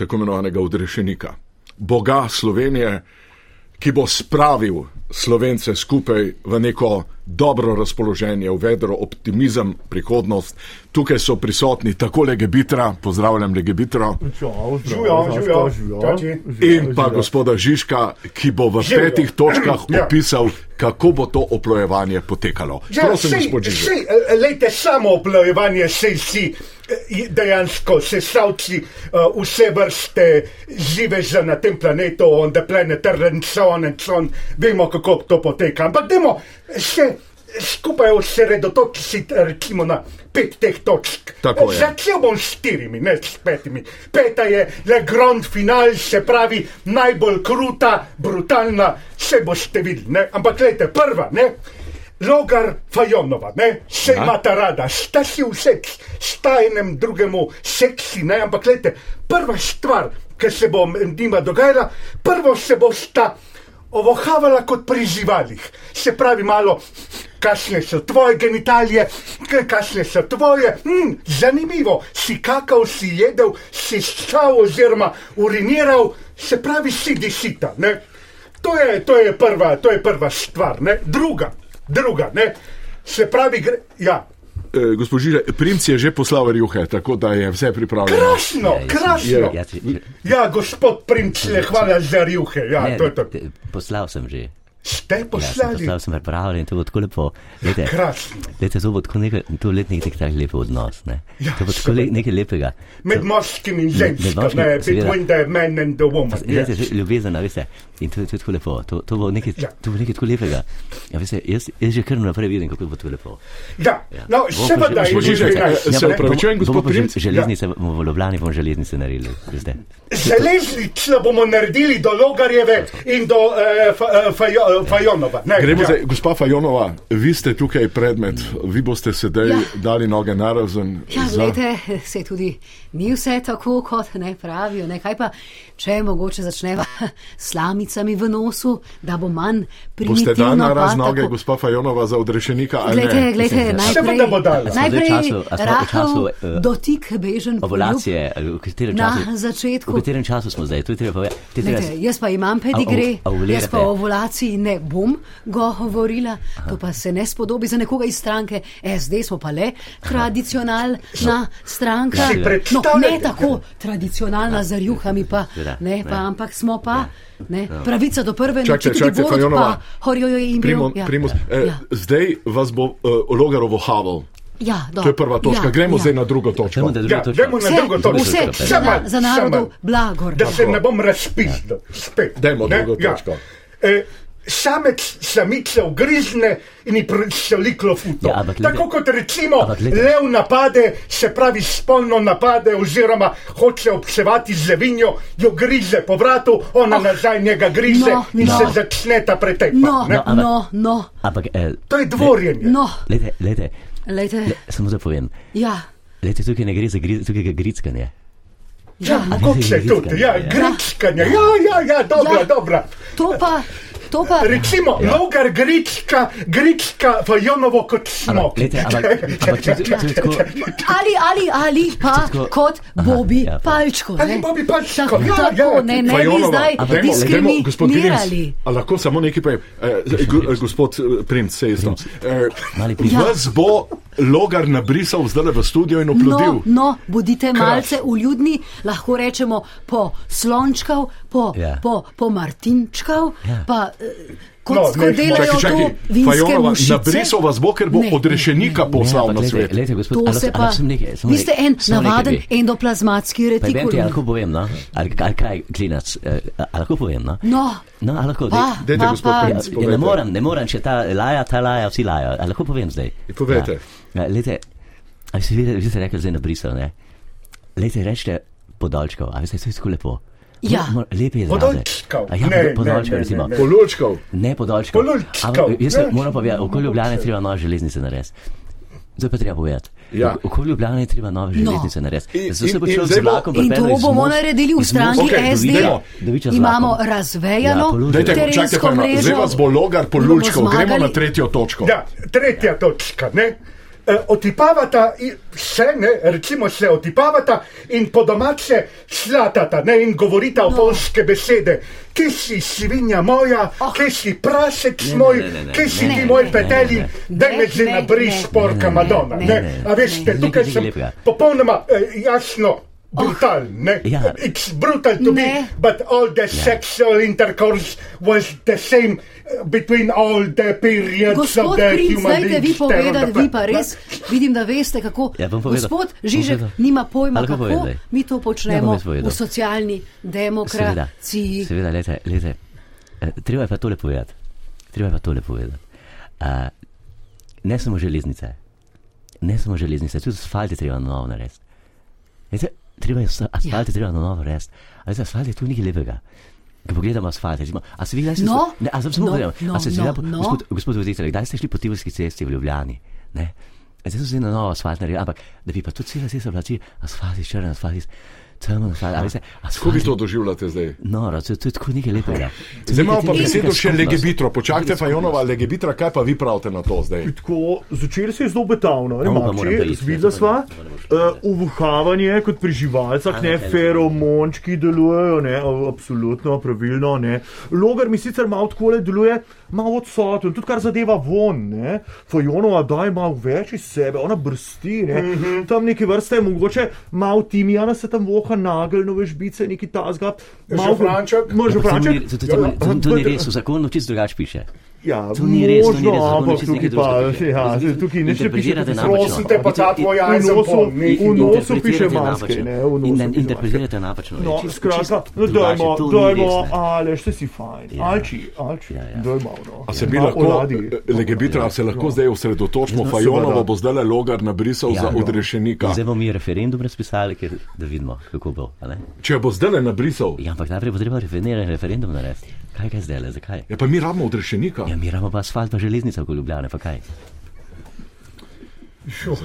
tako imenovanega odrešenika, Boga Slovenije, ki bo spravil Slovence skupaj v neko dobro razpoloženje, v vedro optimizem, prihodnost. Tukaj so prisotni tako Legebitra, pozdravljam Legebitro,
Živijo, živijo, živijo.
in pa gospoda Žižka, ki bo v
Živjo.
petih točkah
Ja.
opisal, kako bo to oplojevanje potekalo. Prosim, gospod Žižek.
eh, Lejte, samo oplojevanje sej si eh, je dejansko sesalci eh, vse vrste živeža na tem planetu, on the planet, and so on and so on. Vemo, kako to poteka. Ampak demo še skupaj osredotočiti recimo na pet teh točk.
Tako je.
Začel bom s štirimi, ne s petimi. Peta je le grand final, se pravi najbolj kruta, brutalna, se boste videli. Ne? Ampak gledajte, prva, ne? Logar Fajonova, ne, se imata rada, sta si vsek, sta enem drugemu seksi, ne, ampak gledajte, prva stvar, ki se bo med njima dogajala, prvo se bosta ovohavala kot pri živalih. Se pravi, malo, kakšne so tvoje genitalije, k- kakšne so tvoje, hm, zanimivo, si kakal, si jedel, si ščal oziroma uriniral, se pravi, si disita. Ne? To je, to je prva, to je prva stvar, ne? druga, druga, ne? se pravi, gre, ja.
Eh, Gospod Žira, Primc je že poslal rjuhe, tako da je vse pripravljeno.
Krasno, krasno.
Krasno. Ja, jaz-
Ja, gospod Primčle, hvala za rjuhe. Ja,
ne,
to je to.
te- Poslal sem že.
Ste
Ja, sem
poslali?
poslal sem pripravljen, to bo tako lepo. Lejte,
Krasno.
lejte, to bo tako nekaj, to let nek, nek tak lep odnos. Ne?
Ja,
to bo tako le, nekaj lepega.
Med
To-
moškim in
Med- med
ženskim,
moškim,
ne,
seveda.
between the man and the woman.
Ja,
yes.
yes. Ljubezen, a veste. In to, je- to je tako lepo, to, to, bo nekaj,
Ja.
ja. to bo nekaj tako lepega. Ja, veste, jaz, jaz že kar naprej vidim, kako bo to lepo.
Ja,
Ja.
no,
Bomo pa
seveda
že-
je
Gospod
že
Žižek,
Ja,
nekaj.
se
bomo-
opravičujem,
bomo
gospod
pa že-
Primc?
Železnice, ja. v Ljubljani bomo železnice naredili. veste.
Ja, Železnično bomo naredili do Logarjeve in do eh, Fa- eh, Fajo- eh, Fajonova. Ne,
Gremo
ja.
zdaj, gospa Fajonova, vi ste tukaj predmet, vi boste sedaj ja. dali noge narazen.
Ja,
za-
gledajte, se tudi ni vse tako, kot ne pravijo. Ne? Kaj pa, če mogoče začneva s slamicami v nosu, da bo manj primitivno.
Boste dali
pa
naraz
tako-
noge, gospa Fajonova, za odrešenika ali
Glejte,
Ah, ne?
glejte,
Seveda
najprej,
bo dala. A
smo v
najprej
času- a smo v
rahel
času, eh,
dotik bežen
Ovulacije, v katerem
Na
času?
začetku.
V katerem času smo zdaj? To je treba povedati. To je treba-
Glede, jaz pa imam pedigre,
A- a- ovulirate?
jaz pa o ovulaciji ne bom govorila, to pa se ne spodobi za nekoga iz stranke SD, smo pa le
No.
tradicionalna stranka.
Si
No,
predstavljate?
ne tako tradicionalna z rjuhami, pa,
Seveda,
ne, pa,
ja.
ampak smo pa ne, pravica do prve
Ja. Čakajte,
noči, tudi
čakajte,
Borut
Fajonova.
pa Horjojo je imel.
Primo,
ja,
primus, eh,
ja,
Zdaj vas bo eh, Logarovo haval.
ja,
To je prva točka.
Ja,
Gremo
ja.
zdaj na drugo
Dajmo,
točko.
da drugo
Ja,
točko.
dajmo na
Vse,
drugo točko.
vse
Še
za, na,
manj,
za
še
narodov
manj.
blagor.
Da se ne bom razpihnil. Spet.
Dajmo
ne,
drugo
ja.
točko.
Eh, Samec samice ugrizne in ji priseli klofuto.
Ja, ampak glejte-
Tako kot recimo
ampak glejte-
lev napade, se pravi spolno napade, oziroma hoče obsevati z levinjo, jo grize po vratu, ona oh, nazaj njega grize
Ah. no,
in
no.
se začne ta pretep.
No,
Ne, ampak-
no, no,
Ampak, eh,
To je dvorjenje.
no,
lejte, lejte,
lejte,
le, samo da povem.
ja.
Lejte, tukaj ne gre za griz, tukaj je grickanje.
ja, mogoče
ne,
tudi, ja,
ja.
gričkanje. Ja, ja, ja, dobra,
Ja.
dobra.
To pa, to pa,
Recimo, ja. logar grička, grička v Jonovo Ja, kot
Ampak,
snop.
lejte, ampak, ampak to, je- to je tako,
ali, ali, ali pa
Tako-
kot
Aha,
Bobi
ja, pa.
Palčko.
Ali
ne.
Bobi Palčko,
Tako,
ja, ja.
tako, E ne, ne bi
Fajonova,
zdaj
dajmo- dajmo- gospod
diskriminirali.
Grims, a lahko samo nekaj povem. Eh, g- eh, Gospod eh, Primc, se je isto.
Mali
Eh,
Primc.
Vas bo Logar nabrisal zdaj v studio in
No,
oplodil.
no, bodite malce uljudni, lahko rečemo po slončkav, po,
Ja.
po, po martinčkav,
Ja.
pa eh, kot,
No,
no,
ne,
kot delajo
Čakaj, čakaj,
to vinske
Fajonova,
mušice.
nabrisal vas bo, ker bo
Ne, ne,
odrešenika poslal na svet.
Lejte, gospod,
To
a lahko-
se
a
pa,
lahko sem nekaj- samo
vi ste
nekaj-
en
samo nekaj
navaden
bi.
endoplazmatski
Pa vem ti,
retikulum.
lahko povem, no? ali, ali kaj, klinac, eh, a- a lahko povem. No,
No,
no a lahko
pa,
dajte.
Dajte,
ma
gospod
pa,
Princ.
Ja,
povejte.
ne morem, ne morem, če ta laja, ta laja, vsi lajajo. A Lahko povem zdaj.
Povejte.
Ja. Ja, lejte, a veste, vi, vi ste rekli, zdaj nabrisal, ne? Lejte, rečete podolčkov, a veste, to je tako lepo.
Ja.
Mo, mo, lep je izraz.
Podolčkov.
A Ja,
Ne, ne,
ne, podolčkov,
ne, ne,
recimo.
ne.
Polulčkov.
Ne podolčkov.
Podolčkov,
Ampak Jaz se
ne.
moram povedati, okoli Ljubljane je treba nove železnice narediti. Zdaj pa treba povedati.
Ja.
O- Okoli Ljubljane je treba nove železnice narediti.
In-
Zato se
in-
bo
in
človek
zdaj
z
bo-
vlakom
No. In
pripeljal
to
iz
bomo
Most-
naredili v
iz Mosta
stranki
Okej,
do
SD.
Viča- do Viča z
Imamo
vlakom. Ja,
razvejano
Polužje.
Dajte,
no, terensko
čakajte, pa ima-
mrežo.
zdaj vas bo Logar polulčkov.
Bomo
Gremo na
zmagali.
tretjo točko.
Ja, tretja točka. Ne? E, Otipavata in- se, ne, recimo se otipavata in po domače slatata ne, in govorita no. polske besede. Kje si svinja moja, oh. kje si prasec
ne,
moj,
ne, ne,
kje si
ne,
ti
ne,
moj
ne,
peteli,
ne, ne.
da me že
Ne, ne,
nabriš,
ne,
porka
ne,
Madonna.
ne,
Ne,
ne.
A veš,
Ne,
tukaj
nekaj
sem
lepega.
popolnoma eh, jasno. Brutal, ne?
Ja.
It's brutal to be,
Ne.
but all the sexual intercourse was the same eh, between all the periods.
Gospod Princ, dajte vi povedati, vi pa res vidim, da veste kako.
Ja, bom povedal.
Gospod
Bom
Žižek
povedal.
nima pojma,
Ali lahko povem
kako
zdaj?
mi to počnemo
jaz povedal.
v socialni
Seveda,
demokraciji.
seveda Eh, lete, lete. Treba je pa tole povedati. Treba je pa tole povedati. Uh, ne samo železnice, ne samo železnice, tudi asfalt je treba na novo narediti. Veste, treba je
Ja.
vsa- asfalt je treba na novo narediti, ali za asfalt je tu nekaj lepega. Ko pogledamo asfalt, recimo, a se vi kdaj ste
No,
se, ne, a sem samo
no,
povedal,
no,
a ste se
no,
kdaj po-
no.
gospod, gospod Voditelj, kdaj ste šli po Tivolski cesti v Ljubljani? Ne? Zdaj so zdaj na novo asfalt naredili, ampak da bi pa tudi cela cesta bila čir, asfalt je črn, asfalt je temen, asfalt, a veste,
Kako vi
asfalt
to
je
doživljate zdaj?
noro, No, to je to je tako nekaj lepega.
Zdaj imamo pa
Nekaj
besedo še
skupnost.
legebitro. Počakajte, Fajonova, legebitra, kaj pa vi pravite na to zdaj?
Tako, začeli se je zelo betavno, ne
No, pa moram
mači,
preiti,
zvidela
ne,
sva,
moram
eh, uvuhavanje kot pri živalcah, ne, feromončki delujejo, ne, o, absolutno, pravilno, ne. Logar mi sicer malo takole deluje, malo odsoten, tudi kar zadeva von, ne. Fajonova daj malo več iz sebe, ona brsti, ne. Tam neke vrste, mogoče malo timijana se tam voha, nageljnove žbice, neki tasga.
Ja,
Malo
Žafranček?
Ma,
Ampak to ni-
žafranček.
to- to- to- to- To ni
Ja,
res, v zakonu čisto drugače piše.
Ja,
To ni res, to ni
možno,
res,
ampak
čisto
tukaj
nekaj
pa,
drugega piše.
ja, tukaj ne še piše,
Interpretirate
da se
napačno.
Prosite pa ta tvoj
v
jajzen
nosu,
pol.
v nosu piše maske, ne, v nosu
In ne
piše
interpretirate napačno. je
No,
Ja, čisto-
skratka,
čisto
no,
drugače,
dajmo,
to ni
dajmo,
res, ne.
ali še si fajn,
Ja.
alči, alči,
Ja, ja.
dajmo, no.
A se bi
Malo
lahko,
oladi.
legebitra, a se lahko zdaj osredotočimo,
No,
Fajonovo
seveda.
bo zdaj logar nabrisal
Ja,
za
no.
odrešenika.
Zdaj bomo mi referendum razpisali, ker, da vidimo, kako bo. a ne?
Če bo zdaj nabrisal,
Ja, ampak najprej bo treba referen- referendum narediti. Kaj je zdaj, le, zakaj?
ja pa mi rabimo odrešenika.
Ja, mi imamo pa asfalt, pa železnica, kot ljubljene, pa kaj.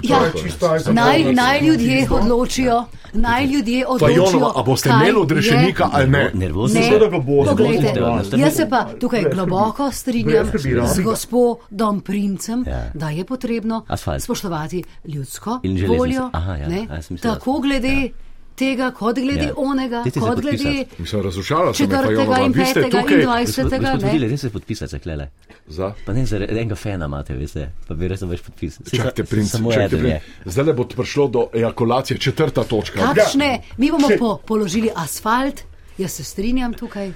Ja,
Čisto jaz sem
naj,
bolj-
naj ljudje odločijo, naj ljudje odločijo.
Fajonova, a boste
kaj
imeli
je-
odrešenika ali ne?
Nervozni
Ne.
ste.
Seveda ga bo,
Poglejte,
Nervozni ste, ne ste
jaz
nervozni.
se pa tukaj
Brez
globoko strinjam
Brez skrbi,
z
rabi ga.
gospodom Princem,
Ja.
da je potrebno
Asfalt.
spoštovati ljudsko
In železnice.
voljo,
Aha, ja,
ne,
a jaz sem mislil,
tako glede tega, kot glede
Ja.
onega,
Dajte se
kot glede
podpisati.
Mislim, razočarala sem me,
četrtega
Fajonova.
in
Vi ste
petega in
tukaj
dvajsetega.
Gospod
ne.
Vodilj, res se podpisati, klele.
za.
Pa ne za enega fena imate, veste, pa bi res več podpisal. Saj
Čakajte,
sa-
princ,
samo
čakajte,
eden
princ.
je.
Zdaj bo prišlo do ejakulacije, četrta točka.
Kakšne, mi bomo po, položili asfalt, jaz se strinjam tukaj.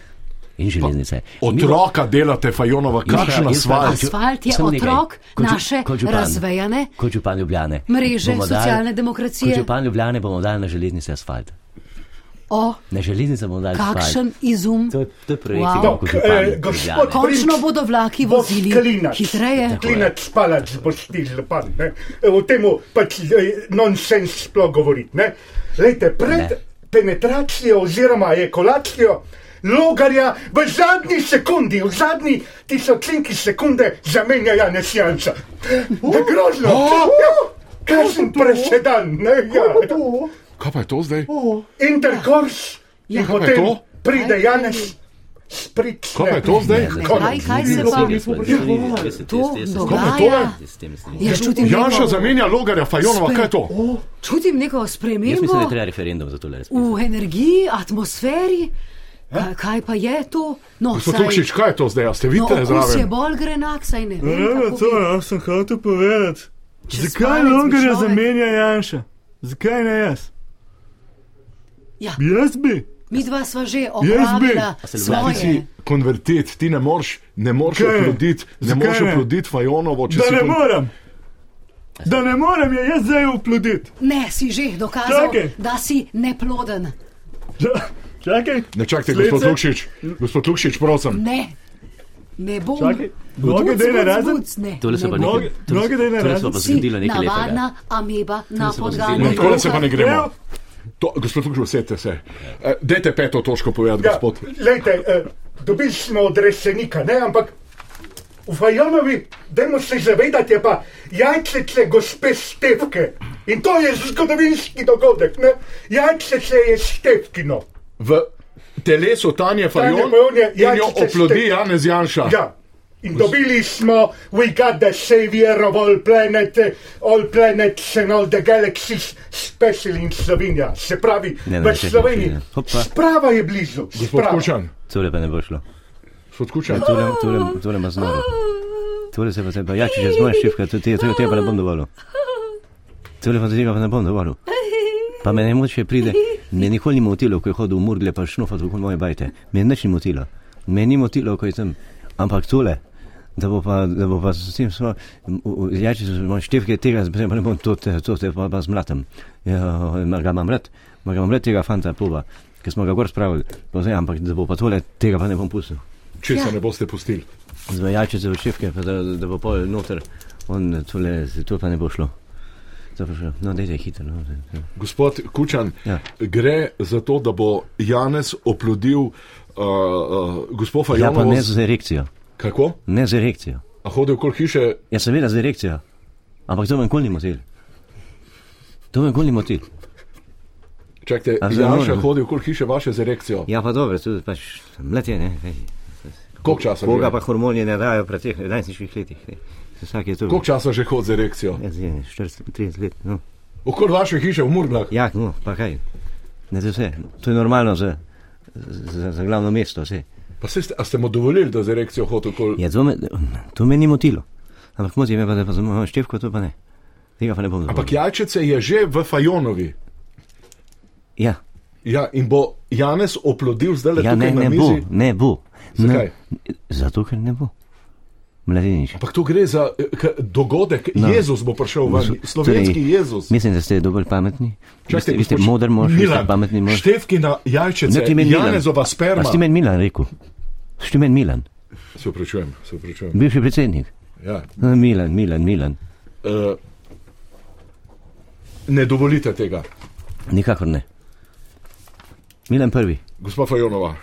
In železnice.
Otroka delate, Fajonova,
In-
kakšen
in-
asfalt.
Asfalt je
Samo nekaj.
otrok
Kot žu-
naše
kot župan.
razvejane
Kot župan Ljubljane.
mreže
bomo dali-
socialne
Kot
demokracije.
župan Ljubljane bomo dali na železnice asfalt.
O,
Na železnice bomo dali asfalt.
kakšen izum.
To je, to je projekt,
Wow.
wow.
No,
kot župan.
eh,
Ljubljane.
gospod-
Končno bodo vlaki
Bo
vozili
klinač.
hitreje.
Klinač, palač, boš ti župan. ne. O tem pač eh, nonsens sploh govoriti. ne. Glejte, pred
Ne.
penetracijo oziroma ekolacijo logarja v zadnji sekundi, v zadnji tisočinki sekunde zamenja Janez Janša. Je grozno! Ja, Kakšen presedan, ne? Ja.
Kaj pa je to zdaj?
Interkurs in
Kaj pa je
potem
to?
pride Janez. Sprične.
Kaj pa je to zdaj?
Ne,
Kaj- kaj se
nismo-
pa-
nismo prišli,
Ja,
nismo prišli,
to
jaz- jaz- jaz-
dogaja?
Ja,
jaz- jaz- jaz- jaz- jaz- jaz-
Jaz čutim
Janša
neko,
zamenja logarja, Fajonova, kaj je to?
čutim neko
Jaz mislim, da je
spremembo
treba referendum za to res.
v energiji, atmosferi. Kaj, kaj pa je to? No,
Eh? Gospod
saj-
Tukšič, kaj je to zdaj? A ste vi
no,
tukaj
okus je
zraven? Eh,
bolj grenak, saj ne. Vem, kako bi-
ja, sem hotel povedati.
Čez palec bi človek-
Janša? Zakaj ne jaz?
Ja.
Jaz bi.
Mi dva sva že
bi.
opravila
se ljubljavi?
Ti si
svoje.
konvertit, ti ne moreš, ne moreš
Kaj?
oploditi, ne
Zakaj
moreš
ne?
oploditi Fajonovo, če si kon-
morem. Da ne morem, je jaz zdaj uploditi.
Ne, si že dokazal,
Čakaj.
da si neploden.
Čakaj,
Ne čakajte,
Slejce?
gospod Lukšič, gospod Lukšič, prosim.
Ne, ne bom.
čakaj. Noge
Buc,
dej na
buc,
razen.
buc, ne,
Tole se
ne
pa
bom.
nekaj.
Mnogi-
tole se-
mnogi da je ne
tole se pa
razen.
bo
Si
zgodilo nekaj lepega.
navadna ameba na
Tole se bo
podganju.
zgodilo.
No, Takole se pa ne gremo.
Evo.
To, gospod Lukšič, usedite se. Eh, Dajte peto točko povedati,
Ja,
gospod.
Lejte, eh, dobili smo odrešenika, ne, ampak v Fajonovi, dajmo se zavedati, je pa jajčice gospe Stevke. In to je zgodovinski dogodek, ne? Jajčice je Stevkino.
V telesu Tanje Fajon
Fajon je
in jo
jajčice
oplodi
štek.
Janez Janša.
Ja. In dobili smo, we got the savior of all planet, eh, all planets and all the galaxies, special in Slovenija. Se pravi,
Ne, ne,
v
čakaj,
Sloveniji.
čakaj, hopa.
Sprava je blizu.
Gospod
sprava.
Kučan,
Tole pa ne bo šlo.
gospod Kučan,
Tole, tole, tole ima znoro. Tole se pa se pa, ja, če že zmoješ šifka, to te, tega pa ne bom dovolil. Tole pa tega pa ne bom dovolil. Pa me ne moče pride, me nikoli ni motilo, ko je hodil v Murgle pa šnofat okoli moje bajte. Me nič ni motilo. Me ni motilo, ko je tam. Ampak tole, da bo pa, da bo pa s tem smo, ja, če so moje števke tega, zdaj pa ne bom to, te, to te pa, pa zmlatem. Ja, ma ga imam rad, ma ga imam rad tega fanta puba, ki smo ga gor spravili. Pa zdaj, ampak da bo pa tole, tega pa ne bom pustil ja,
če se ne boste pustili.
zmejačice v šifke, pa da, da bo pol noter
on tole, to pa ne bo šlo. To pa šlo. No, dejte hitro. No. dajte.
Gospod Kučan, ja.
Ja.
gre za to, da bo Janez oplodil uh, uh, gospod
Ja, pa
Fajanovo.
ne z erekcijo.
Kako?
Ne z erekcijo.
A hodil okoli hiše,
Ja, seveda z erekcijo. Ampak to je venkolni motil. To je venkolni motil.
čakajte,
A zdaj
Janša
moram?
hodil okoli hiše vaše z erekcijo. Ja.
Ja, pa dobro, tu pač mletje, ne. ej.
Koliko časa,
Koga
že?
pa hormoni ne dajo pri teh 11 letih? ne. Vsak je tu.
Koliko časa že hodi z erekcijo?
Ja, zdaj je 40, 30 let. No.
Okoli vaše hiše v Murglah.
Ja, no, pa kaj. Ne, to, je vse. to je normalno za, za, za glavno mesto. Vse.
Pa se ste, a ste mu dovolili, da z erekcijo hodi okoli?
Ja, to, me, to me ni motilo. Ampak moti me pa, da pa za mojo števko to pa ne. Tega pa ne bom
Ampak
dovolil.
jajčice je že v Fajonovi.
Ja,
Ja, in bo Janez oplodil zdaj le
ja ne,
tukaj na
ne bo,
mizi.
ne bo.
Zakaj?
Ne, zato, ker ne bo. Mladenič.
Ampak to gre za eh, k- dogodek. No.
No.
Jezus bo prišel ven,
Torej,
slovenski Jezus.
Mislim, da ste dovolj pametni. Vi ste,
Čakajte,
vi ste
gospod
moder mož, vi ste
Milan,
pametni mož. No,
Števki na jajčice, Janezova sperma.
A ste meni Milan rekel? Ste meni Milan,
Se upravičujem, se upravičujem.
bivši predsednik.
Ja.
A, Milan, Milan, Milan.
Uh, ne dovolite tega,
Nikakor ne. Milan prvi.
gospa Fajonova,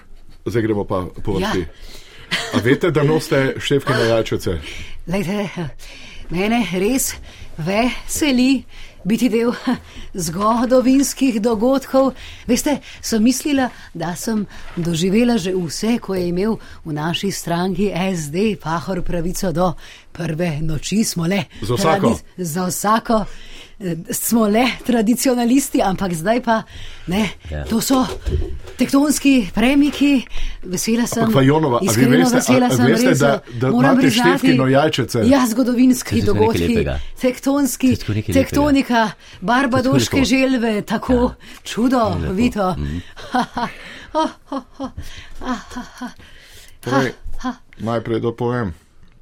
zdaj gremo pa po vrsti.
Ja.
Ja. A veste, da nosite števke na jajčice?
Lejte, mene res veseli biti del zgodovinskih dogodkov. Veste, sem mislila, da sem doživela že vse, ko je imel v naši stranki SD Pahor pravico do prve noči, smo le.
Za vsako.
tradi- Za vsako. eh, Smo le tradicionalisti, ampak zdaj pa ne.
Ja.
To so tektonski premiki. Vesela sem.
Ampak Fajonova, a vi
iskreno
veste, a-
vesela
a
sem,
veste,
res, eh,
da- da
moram
imate
priznati,
Štefkino jajčice?
Ja, zgodovinski
To je tako nekaj
dogodki,
lepega.
tektonski,
To je tako nekaj lepega.
tektonika, barbadoške
lepo.
želve, tako ja. čudovito.
Mm.
Mm. Torej, najprej da povem.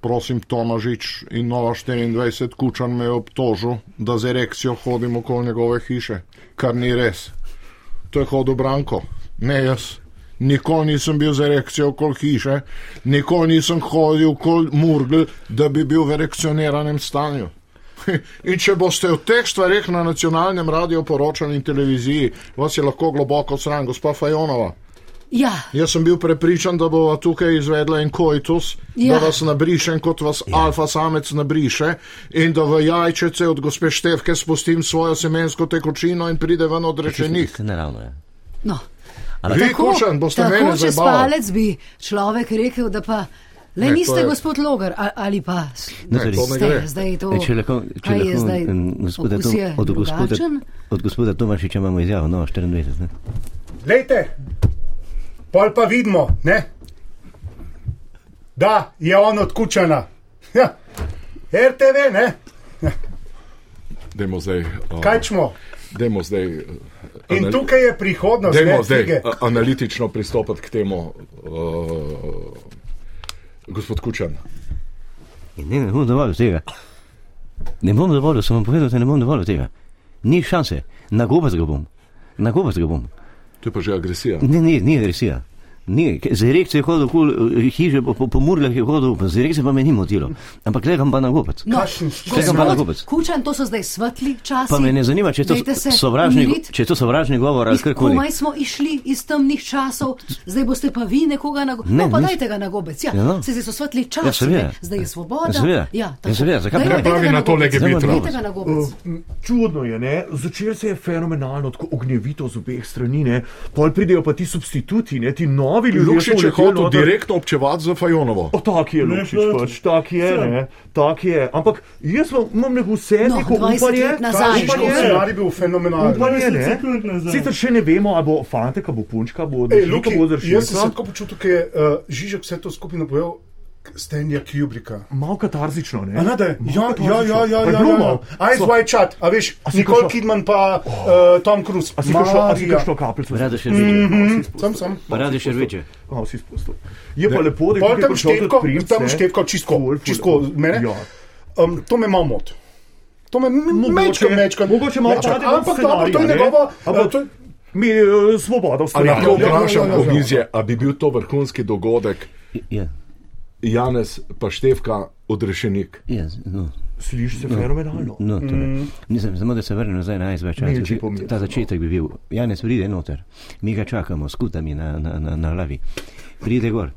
Prosim, Tomažič in Nova 24 Kučan me je obtožil, da z erekcijo hodim okoli njegove hiše, kar ni res. To je hodil Branko, ne jaz. Nikoli nisem bil z erekcijo okoli hiše, nikoli nisem hodil okoli Murgl, da bi bil v erekcioniranem stanju. In če boste o teh stvarih na nacionalnem radiju poročali in televiziji, vas je lahko globoko sram, gospa Fajonova.
Ja,
Jaz sem bil prepričan, da bova tukaj izvedla en koitus, ja.
Ja.
da vas nabrišem, kot vas ja. alfa samec nabriše, in da v jajčece od gospe Števke spustim svojo semensko tekočino in pride ven odrečenih.
Ste naravno. Ja.
no.
Ampak-
Vi, Kučan, boste mene
tako čez
zabavali.
palec bi človek rekel, da pa le
Ne, to
niste
je-
je... gospod Logar a- ali pa s-
No, torej,
to ne
ste,
gre.
zdaj je to.
E, Če lahko, če
kaj je
lahko
zdaj?
em, gospoda,
Okus
Tom-
je
od, gospoda,
drugačen?
od gospoda Tomašiča imamo izjavo, no, 24. Ne?
Lejte, pol pa vidimo, ne? da je on odkučena. Ja. RTV, ne?
Dajmo zdaj,
kaj smo.
dajmo zdaj,
In tukaj je prihodnost, ne fige.
analitično pristopiti k temu, gospod Kučan.
Ja, Ne, ne bom dovolil tega. Ne bom dovolil, sem vam povedal, da ne bom dovolil tega. Ni šanse, nagobac ga bom. Nagobac ga bom.
To je pa že agresija.
Ne, ne, ni agresija. Ni, ke- z erekcijo je hodil okoli eh, hiše, po, po, po murlah je hodil, pa z erekcijo pa me ni motilo. Ampak le kam pa nagobac.
No,
Kakšen
gospod
Tega pa ne gobec.
Kučan, to so zdaj svetli časi.
Pa me ne zanima, če je to
Dajte se
sovražni,
umiriti.
če je to sovražni govor ali
Iz-
karkoli.
Komaj smo išli iz temnih časov, zdaj boste pa vi nekoga na gobec.
Ne,
No, pa
nis-
dajte ga na gobec. Ja.
Ja, no.
Se zdaj so svetli časi,
Ja, seveda.
ne. zdaj je svoboda.
Ja, seveda. Ja, seveda. Zakaj
Dajte
pa ne
ga
pravi na to
gobec.
LGBT?
Zdaj bo
Dajte ga na gobec.
Uh, Čudno je, ne? začel se je fenomenalno, tako ognjevito z obeh strani, ne? pol pridejo pa ti substituti, ne? ti novi ljudje.
Lukšič
so no,
je
vleteli
hotel
noter.
direktno občevati za Fajonovo.
O, tak je Lukšič, pač, tak je, ne? tak je. Ampak jaz vam- imam neko vse
No,
neko
20
upanje,
let nazaj.
Kaj smo
upanje,
scenarij bil fenomenalen.
upanje, ne? Sicer še ne vemo, ali bo fantek, ali bo punčka, bo
Ej,
odrešil,
Luki,
bo
jaz sem se
odrešil.
tako počutil, ko je uh, Žižek vse to skupaj napovedal, Stenja Kubrika.
Malo katarzično, ne?
A ne, da je? Ja,
Malo
ja, ja, ja,
katarzično. Pa je
ja,
bilo
ja, ja.
malo.
Eyes
So-
wide shut, a veš,
A si
Nicole
kakšno-
Kidman pa uh, Tom Cruise.
A si kakšno- a si
Marija.
kakšno kapljico?
Rade še
no,
veče.
Mhm. Sam sem.
Rade še veče.
Malo si spustil. Je pa lepo, da je
Pol
tukaj
tam
prišel tudi
števko,
princ,
tam
ne.
števko, čistko,
Ful, ful.
čistko, mene.
Ja.
Um, to me malo moti. To me mečka, mečka.
mogoče malo pade na
Ampak dobro, to je
scenarij, ne?
njegovo.
Ampak
eh, to je-
Ja, Mi eh, svobodo
Ali
ustvarjamo.
lahko
ja, ja,
vprašam,
ja, ja.
Obnizje, a bi bil to vrhunski dogodek?
Ja,
Janez pa Števka odrešenik.
ja, no.
Sliši se fenomenalno.
No,
Mm.
Mhm.
torej. Nisem samo, da se vrnem nazaj na SVČ.
Milči pomirjen,
Ta začetek bi bil. Janez pride noter, mi ga čakamo s kutami na, na, na, na lavi. Pride gor.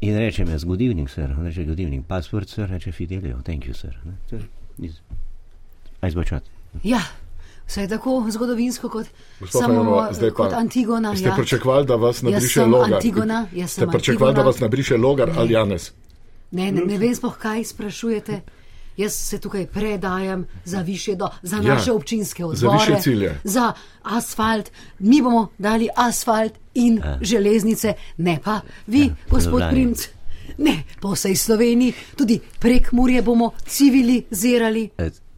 In reče mi, good evening, sir. On reče, good evening, password, sir. Reče, Fidelio, thank you, sir. Ne, to je iz- SVČ.
Ja, vse je tako zgodovinsko kot
Gospa
samo eh,
Fajonova, zdaj pa.
kot Antigona.
Ste
ja.
pričakovali, da vas
Jaz
nabriše
sem
logar?
Antigona, jaz
Ste
sem
pričakovali, da
Antigona.
vas nabriše logar ali Janes?
Ne, ne, ne vem sploh, kaj sprašujete. Jaz se tukaj predajam za više, do, za
Ja,
naše občinske
za
odbore,
višje cilje.
za asfalt. Mi bomo dali asfalt in ja. železnice, ne pa vi, ja, gospod
Ljubljani.
Primc. Ne, po vsej Sloveniji, tudi prek Murje bomo civilizirali.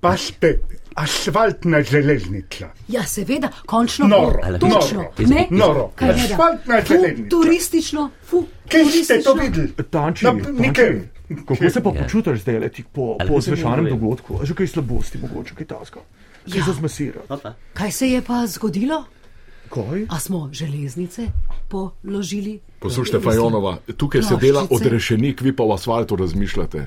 Pašte, asfaltna železnica.
Ja, seveda, končno
Noro,
bo
noro,
točno. Ne,
noro.
Kaj ne da?
Asfaltna
Fu-
železnica.
Turistično, fu,
Kje ste to
turistično.
videli?
Tanči,
Na-
tanči.
nikjer.
Kako se pa počutiš zdaj, le tik po,
Ali
po
bi se
zvečanem
mogli?
dogodku? A Že kaj slabosti, mogoče kaj taska. Kaj
Ja.
ja. se zmasira?
Kaj se je pa zgodilo?
Kaj?
A smo železnice položili? Ja,
Poslušajte, Fajonova, tukaj se dela
Ploščice.
odrešenik, vi pa o asfaltu razmišljate.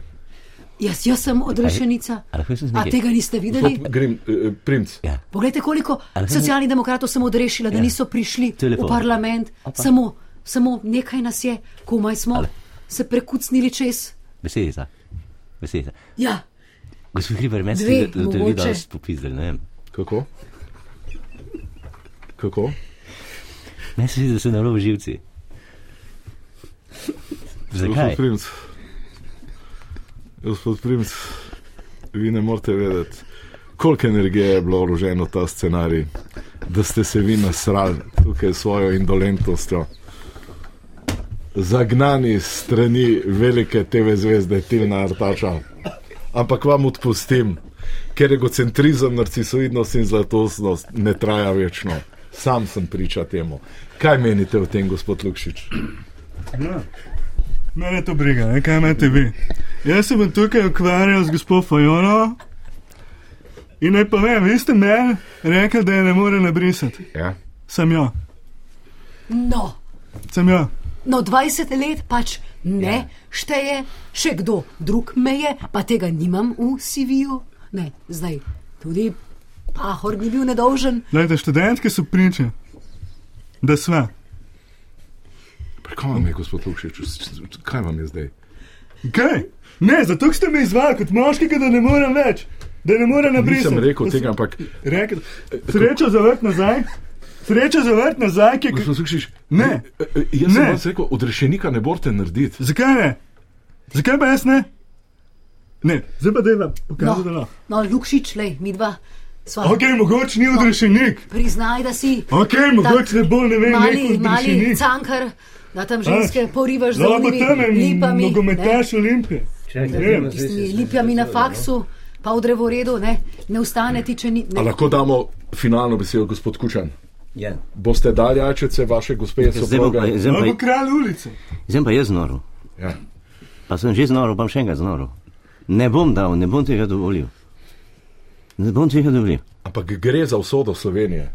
Jaz, jaz sem odrešenica.
A lahko jaz
A
nekaj-
tega niste videli?
Grim, eh, princ,
Ja.
Poglejte, koliko
lahko mi-
socialnih demokratov sem odrešila, da
Ja.
niso prišli
Telefon.
v parlament. Samo, samo nekaj nas je, komaj smo
Ale.
se prekucnili čez.
Besedica. Besedica.
Ja,
Gospod Hriber, meni se
Dve,
zdi, da- da te
mogoče.
videl spopizdelj, ne vem.
kako? Kako?
Meni se zdi, da so narobe živci. Zakaj?
Gospod Primc, gospod Primc, vi ne morete vedeti, koliko energije je bilo vloženo v ta scenarij, da ste se vi nasrali tukaj s svojo indolentnostjo. Zagnani s strani velike TV zvezde Tilna Artača. Ampak vam odpustim, ker egocentrizem, narcisoidnost in zlatostnost ne traja večno. Sam sem priča temu. Kaj menite o tem, gospod Lukšič?
Mene to briga, ne? kaj imate vi. Jaz se bom tukaj ukvarjal z gospod Fajono in naj pa vem, vi ste meni rekli, da je ne more nabrisati.
Ja.
Sem jo,
no,
sem jo.
no 20 let pač
Ja.
ne šteje, še kdo drug me je, pa tega nimam v CV-ju. Ne, zdaj tudi Pahor bi bil nedolžen.
Glejte, študentke so priče, da sva.
Pri Kaj vam je, gospod Lukšič, kaj vam je zdaj?
Kaj? Ne, zato ste me izvali kot moškega, da ne morem več, da ne morem nabrisati.
Nisem rekel
Da sem
tega, ampak
Rekel, srečo zavrt nazaj, srečo zavrt nazaj, ki je.
gospod Lukšič,
Ne.
eh, eh, Jaz sem
Ne.
vam rekel, odrešenika ne morete narediti.
Zakaj ne? Zakaj pa jaz ne? Ne, zdaj pa deva, pokaži, da
No,
lahko.
no Lukšič, le, midva sva.
Ok, mogoče ni odrešenik.
Priznaj, da si
Ok, mogoče ne bo, ne vem,
mali,
nek
mali
odrešenik.
cankar, da tam ženske
Veš,
porivaš z
Lahko
dolgimi
tam je
lipami,
nogometaš Olimpije.
ne, tistimi lipjami na faksu, pa v drevoredu, ne, ne ustane ti, če ni.
A
Ne.
lahko damo finalno besedo, gospod Kučan?
Ja.
Boste dali jačice vaše gospe,
Zdaj bom
soproge?
pa- zdaj bom
Lahko
pa-
No, kralj ulice.
Zdaj pa jaz noro.
Ja.
Pa sem že znoro, bom še enkrat znoro. Ne bom dal, ne bom tega dovolil. Ne bom tega dovolil.
Ampak gre za usodo Slovenije.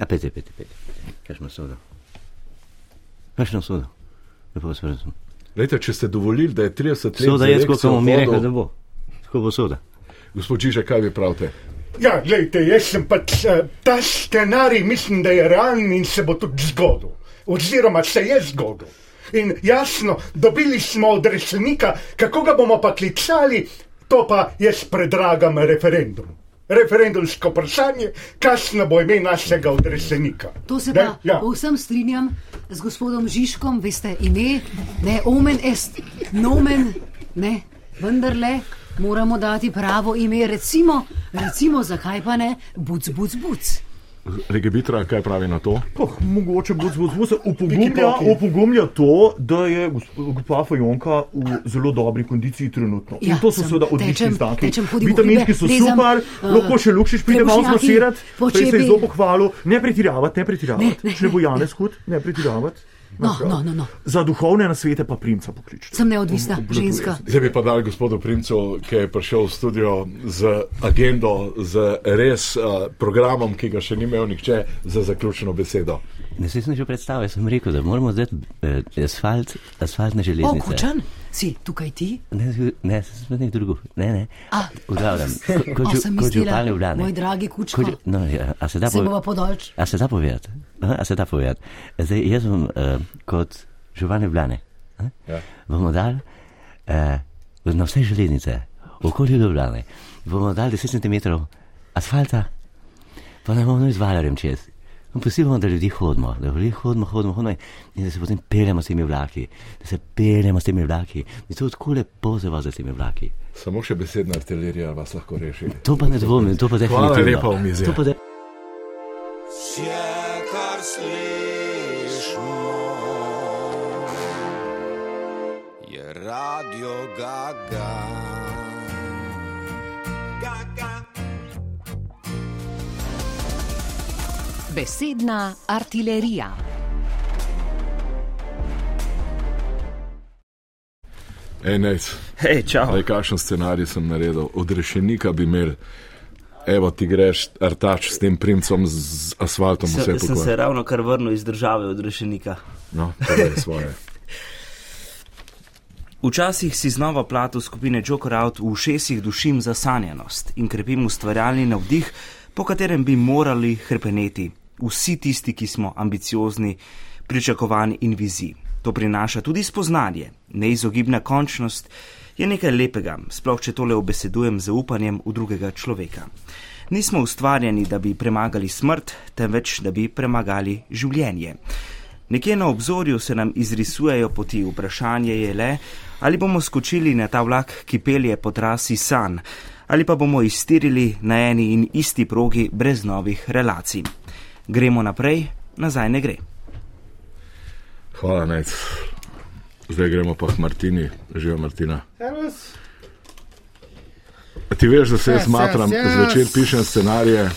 A pete, pete, pete. Kakšno sodo? Kakšno sodo? Lepo vas prosim.
Lejte, če ste dovolili, da je 30 let
Soda je,
za
kot smo mi rekli, da
vodo,
bo. Tako bo soda.
gospod Čiže, kaj vi pravite?
Ja, gledajte, jaz sem pač eh, ta scenarij, mislim, da je realen in se bo tudi zgodil. Oziroma se je zgodil. In jasno, dobili smo odrešenika, kako ga bomo pa klicali, to pa jaz predragam referendum. Referendumsko vprašanje, kakšno bo ime našega odrešenika.
To se
Ne?
pa ja. povsem strinjam z gospodom Žižkom, veste, ime, ne, omen est, nomen, ne, vendarle. Moramo dati pravo ime, recimo, recimo zakaj pa ne, buc, buc, buc.
Legebitra, kaj pravi na to?
Poh, mogoče bo zelo zelo se opogumlja,
Piki-paki.
opogumlja to, da je gosp- gospa Fajonka v zelo dobri kondiciji trenutno. Ja,
Ja,
in to so
sem.
seveda odlični
Tečem-
znaki.
tečem, hodim v
Vitaminki
hribe,
so
lezam,
super,
eh,
lahko še lukšiš pride malo
trebušnjaki,
smasirati, prej se je
počepi.
zelo pohvalil. Ne pretiravati, ne pretiravati.
Ne, ne,
Če ne bo
ne,
Janez hud, ne pretiravati.
No, no, no, no.
Za duhovne nasvete pa primca pokličite.
Sem neodvisna ženska.
Zdaj bi pa dal gospodu Primcu, ki je prišel v studio z agendo, z res uh, programom, ki ga še ni imel nihče, za zaključno besedo.
Ne se sem že predstavil, jaz sem rekel, da moramo zdaj eh, asfalt, asfaltne
O,
železnice.
kučan, Si tukaj ti?
Ne, z- ne, spet nekaj drugo. Ne, ne.
A.
V glavnem, ko- ko
A,
žu-
sem
ko
mislila,
župan Ljubljane.
moj dragi Kučka.
Ko žu- No, ja, a se da
Se
pove-
bova podolč.
A se da povedati? Aha, A se da povedati? Zdaj, jaz bom eh, kot župan Ljubljane. Ja. Bomo dali eh, na vse železnice, okoli Ljubljane, bomo dali 10 cm asfalta, pa ne bomo z valerjem čez. No, Pustimo, da ljudje hodimo, da ljudje hodimo, hodimo, hodimo in da se potem peljemo s temi vlaki, da se peljemo s temi vlaki. In to je tako lepo za vas, da s temi vlaki.
Samo še besedna artilerija vas lahko reši.
To pa ne dvomim, to pa definitivno.
Hvala lepa, omizje.
To pa de-
Vse, kar slišimo, je radio Gaga. Gaga.
Besedna artilerija.
Enajst.
Hej, čau.
Daj, kakšen scenarij sem naredil. Od rešenika bi imel. Evo, ti greš, artač s tem primcem, z asfaltom, vse
Sem, sem se
pokoj.
ravno kar vrnil iz države od rešenika.
No, povej svoje.
Včasih si znova plato skupine Joker Out v šestih dušim zasanjanost in krepim ustvarjalni navdih, po katerem bi morali hrpeneti vsi tisti, ki smo ambiciozni, pričakovanj in vizij. To prinaša tudi spoznanje, neizogibna končnost je nekaj lepega, sploh če tole obesedujem z upanjem v drugega človeka. Nismo ustvarjeni, da bi premagali smrt, temveč da bi premagali življenje. Nekje na obzorju se nam izrisujejo poti, vprašanje je le, ali bomo skočili na ta vlak, ki pelje po trasi San, ali pa bomo iztirili na eni in isti progi brez novih relacij. Gremo naprej, nazaj ne gre.
Hvala, nec. Zdaj gremo pa k Martini, živa Martina.
Servus.
A Ti veš, da se jaz
Yes,
matram,
yes, yes.
zvečer pišem scenarije.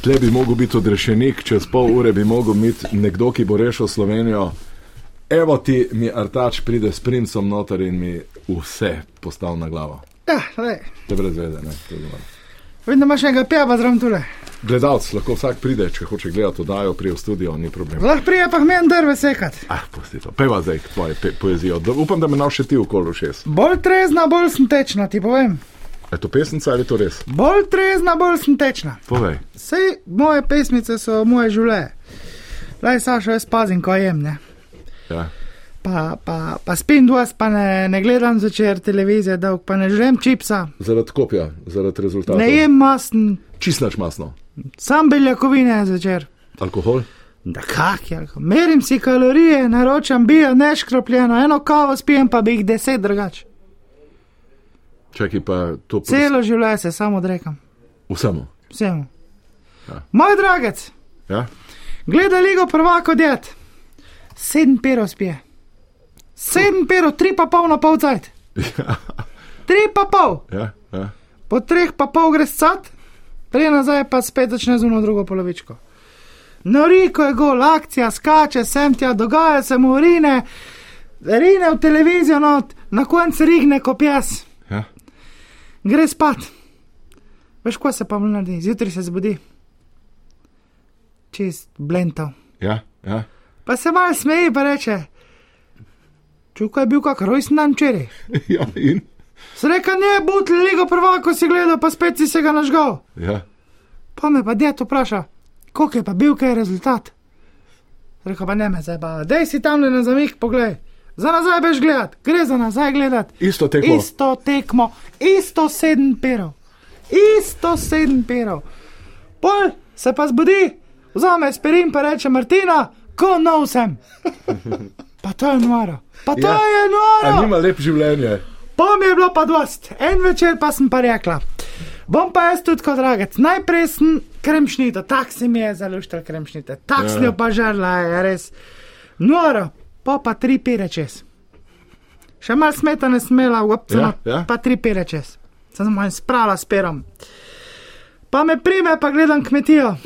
Tle bi mogel biti odrešenik, čez pol ure bi mogel biti nekdo, ki bo rešil Slovenijo. Evo ti, mi artač pride s primcem noter in mi vse postavi na glavo.
Ja, lej,
Te brez vede, ne? to je dobro.
vedno imaš enega pijaba zraven tule.
Gledalc, lahko vsak pride, če hoče gledati, oddajo prije v studio, ni problem.
Lahko prije pa k meni drve sekat.
Ah, pusti to. Peva zdaj tvoje pe poezijo. Da, upam, da me nav še ti okolo šest.
Bolj trezna, bolj sem tečna, ti povem.
Je to pesnica ali je to res?
Bolj trezna, bolj sem tečna.
Povej.
Sej moje pesmice so moje življenje. Laj, Saša, jaz pazim, ko jem, ne.
Ja.
Pa, pa, pa spim duas, pa ne, ne gledam zvečer televizije, dolg, pa ne žrem čipsa,
Zaradi kopja, zaradi rezultatov.
ne jem masn,
Čisnač masno.
sam beljakovine zvečer.
no. Alkohol?
Da kak je, alko- merim si kalorije, naročam bio, neškropljeno, eno kavo spijem, pa bi jih deset drugače.
Čakaj pa to pos-
Celo življenje se samo odrekam,
Vsemu.
vsemu.
Ja.
Moj dragec,
Ja?
gleda ligo prvako diet, sedem pero spije, sedem pero, tri pa pol na pol cajt, tri pa pol,
Ja, ja.
po treh pa pol greš cat, prej nazaj pa spet začne zuno drugo polovičko. Noriko je gol, akcija skače, sem tja, dogaja se mu urine, rine v televizijo not, na koncu rigne kot jaz.
Ja.
Gre spat. Veš, ko se pa mu naredi, zjutraj se zbudi. Čist blentav.
Ja, ja.
Pa se malo smeji, pa reče: Čukaj je bil kak rojsten dan včeraj.
ja, in?
Sreka ne, butli ligo prvako si gledal, pa spet si se ga nažgal.
Ja.
Pa me pa djet vpraša, koliko je pa bil, kaj je rezultat. Reka pa ne me zdaj, dej si tam le na zamik, poglej. Za nazaj veš gledat, gre za nazaj gledat.
Isto tekmo.
Isto tekmo, isto sedem perov, isto sedem perov. Pol se pa zbudi, vzame spirin pa reče Martina, ko nov sem. Pa to je noro, pa to
Ja.
je noro.
A nima lep življenje.
Pa mi je bilo pa dost, en večer pa sem pa rekla. Bom pa jaz tudi kot dragec. Najprej sem kremšnita, tak se mi je zaluštra kremšnita, tak
Ja.
sem jo pa žrla, je res. Noro, pa pa tri pire čez. Še mal smeta ne smela,
Ja,
uopcena,
ja.
pa tri pire čez. Sem se manj sprala s perom. Pa me prime, pa gledam kmetijo.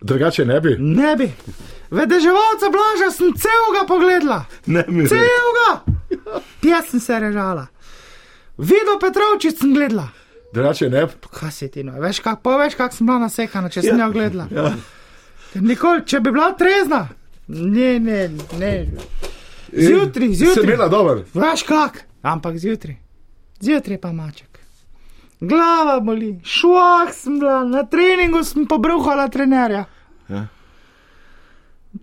Drugače ne bi.
Ne bi. Vedeževalca blaža sem celega pogledala.
Ne bi.
Celega! Pjes sem se režala. Vido Petrovčič sem gledala.
Drugače ne bi.
Kaj si ti, no, veš, kak, pa veš, kak sem bila nasekana, če sem
Ja.
jo gledala.
Ja.
Nikoli, če bi bila trezna, ne, ne, ne. Zjutraj, zjutraj.
Sem bila dober.
Veš kak, ampak zjutraj. Zjutraj pa maček. Glava boli, šuah sem bila, na treningu sem pobruhala trenerja.
Ja.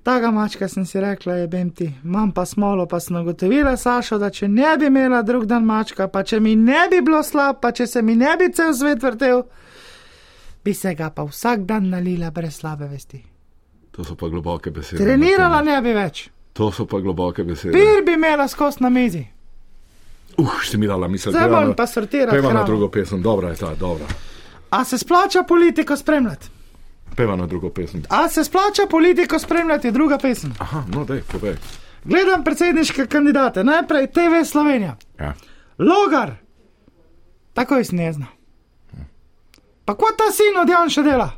Taka mačka sem si rekla, je bem ti, imam pa smolo, pa sem ugotovila, Sašo, da če ne bi imela drug dan mačka, pa če mi ne bi bilo slab, pa če se mi ne bi cel svet vrtel, bi se ga pa vsak dan nalila brez slabe vesti.
To so pa globoke besede. no.
Trenirala ne bi več,
To so pa globoke besede.
pir bi imela skos na mizi.
Uf, si mi dala misel.
Zdaj
greva
bom
na-
pa sortiral
Pejva na
hrano.
drugo pesem, dobra je ta, dobra.
A se splača politiko spremljati?
Pejva na drugo pesem.
A se splača politiko spremljati, je druga pesem.
Aha, no, dej, povej.
Gledam predsedniške kandidate, najprej TV Slovenija.
Ja.
Logar, tako jaz ne znam. Pa kot ta sin od Janša dela.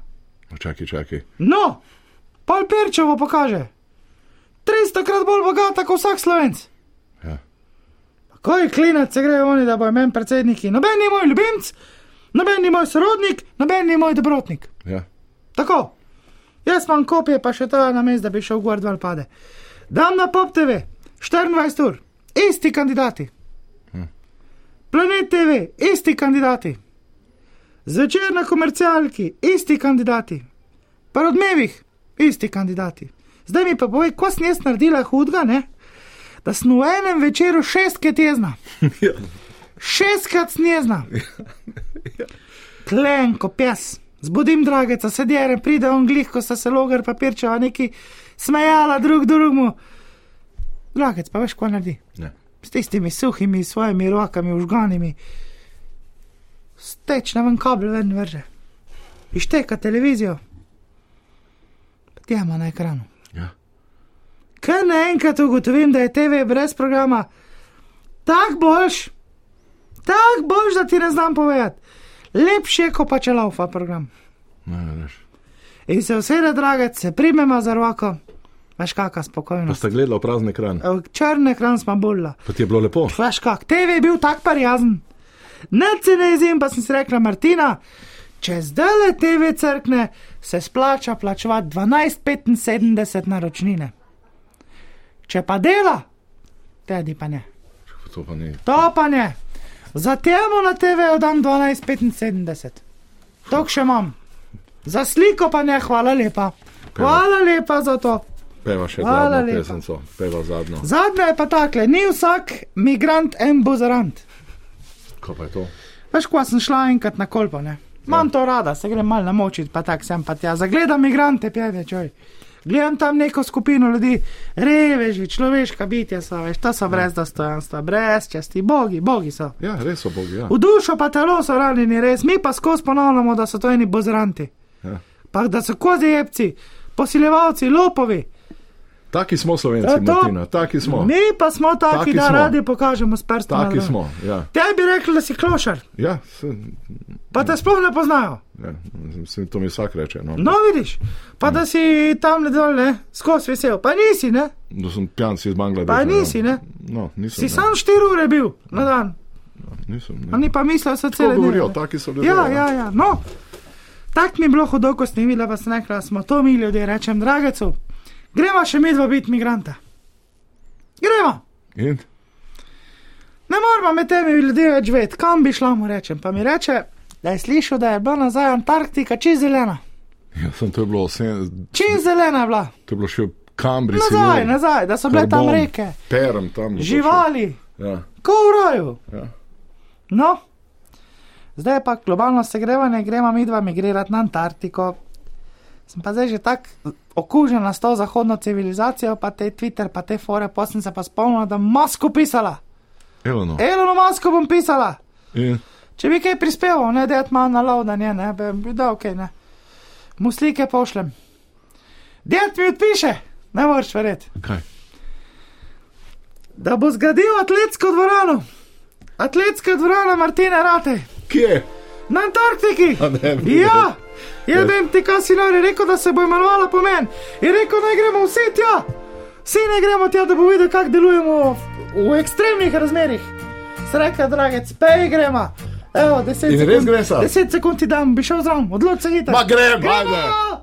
No, Čakaj, čakaj.
No, pol perčevo pokaže. 300 krat bolj bogat kot vsak slovenc.
Ja.
Pa Koji klinac se grejo oni, da bo imen predsedniki? Noben ni moj ljubimc, noben ni moj sorodnik, noben ni moj dobrotnik.
Ja.
Tako, jaz imam kopije, pa še ta na mest, da bi šel gor dol pade. Dam na pop TV, 24 ur, isti kandidati. Planet TV, isti kandidati. Zvečer na komercialki, isti kandidati. Pa na odmevih, isti kandidati. Zdaj mi pa povej, ko sem jaz naredila hudega, ne? da sem v enem večeru šestkrat jezna. Šestkrat sem jezna. Tlen, ko pes, zbudim drageca, sedjerem, pride on glih, ko sta se logar papirčeva neki smejala drug drugemu. Dragec, pa veš, ko naredi.
Ne.
S tistimi suhimi svojimi rokami, užganimi, steč na ven kabel, ven vrže. Išteka televizijo, tjema na ekranu.
Ja.
Ker naenkrat ugotovim, da je TV brez programa, tak boš, tak boš, da ti ne znam povedati. Lepše je, ko pa če laufa program.
Ne, veš.
In se usede, dragec, se primema za roko, veš kakšna spokojna.
Pa sta gledala v prazen ekran.
Črn ekran smo bolj.
Pa ti je bilo lepo.
Veš kak, TV je bil tak parjazen. Nič se ne izjem, pa sem si rekla, Martina, če zdaj le TV crkne, se splača plačevati 12,75 naročnine. Če pa dela, tedi pa ne.
To pa ni.
To pa ne. Za temo na TV dam 12,75. Tok še imam. Za sliko pa ne, hvala lepa. Hvala lepa za to.
Pejva še
Hvala
zadnjo
lepa.
pesemco. Pejva zadnjo.
Zadnja je pa takle, ni vsak migrant en bozarant.
Kaj pa je to?
Veš, ko sem šla enkrat na kolpo, ne. Imam to rada, se grem malo namočiti, pa tak sem pa tja. Zagledam migrante, pjeve, čoj. Gledam tam neko skupino ljudi, reveži, človeška bitja so, veš, to so brez dostojanstva, brez časti, bogi, bogi so.
Ja, res so bogi. Ja.
V dušo pa telo so ranjeni, res, mi pa skozi ponavljamo, da so to eni bozranti,
Ja.
pa da so kozjebci, posiljevalci, lopovi.
Taki smo slovenci,
Ja, to-
Martina, taki smo.
Mi pa smo taki,
Taki
taki da
smo.
smo. radi pokažemo s prstom.
Taki smo, ja.
Tebi rekli, da si klošar,
Ja, se,
pa te sploh ne poznajo.
ja, se, to mi vsak reče. No.
No, vidiš, pa da si tam le dol, ne, skozi vesel, pa nisi, ne,
Da sem pijan si iz Bangladeša.
pa nisi, ne.
No, nisem.
Si
ne. No,
sam štiri ure bil na dan,
Nisem, ne.
oni pa mislijo, da so celo.
govorijo, taki so ljudje,
Ja,
ne.
ja, ja, no. Tak mi je bilo hodo, ko sem videla, pa sem rekla, smo to mi ljudje, rečem, dragecu, greva še medva biti migranta. Greva,
In?
ne moramo med temi ljudmi več vedeti, kam bi šla mu rečem. Pa mi reče, da je slišal, da je bila nazaj Antarktika čez zelena.
Ja, sem to je bilo, sem,
Čez zelena je bila.
to je bilo še v Kambri.
Nazaj,
Sinjur,
nazaj, da so bile tam
Karbon,
reke.
Perm tam.
Živali,
Ja,
ko v roju.
ja.
No, zdaj je pa globalno segrevanje, gremo mi dva migrirati na Antarktiko. Sem pa zdaj že tako okužena s to zahodno civilizacijo, pa te Twitter, pa te fore, pa sem se pa spomnila, da bom masko pisala.
Evo no.
Elonu masko bom pisala.
In?
Če bi kaj prispeval, ne da je tma na lovdanje, ne bi bi dal kaj, ne. Mu slike pošljem. Ded mi odpiše, ne moreš verjeti.
Kaj?
Da bo zgradil atletsko dvorano. Atletska dvorana Martina Rate.
Kje?
Na Antarktiki.
A ne, bi
ja,
rekel.
je vem ti, kaj si nori rekel, da se bo imenovala po meni. In rekel, naj gremo vsi tja. Vsi ne gremo tja, da bo videl, kako delujemo v, v ekstremnih razmerih. Sreka, dragec, pej gremo. Evo, deset
In res
sekund,
gresa?
Deset sekund ti dam, bi šel zraven, odloči se hitro.
Ma grem,
Gremo!
ajde.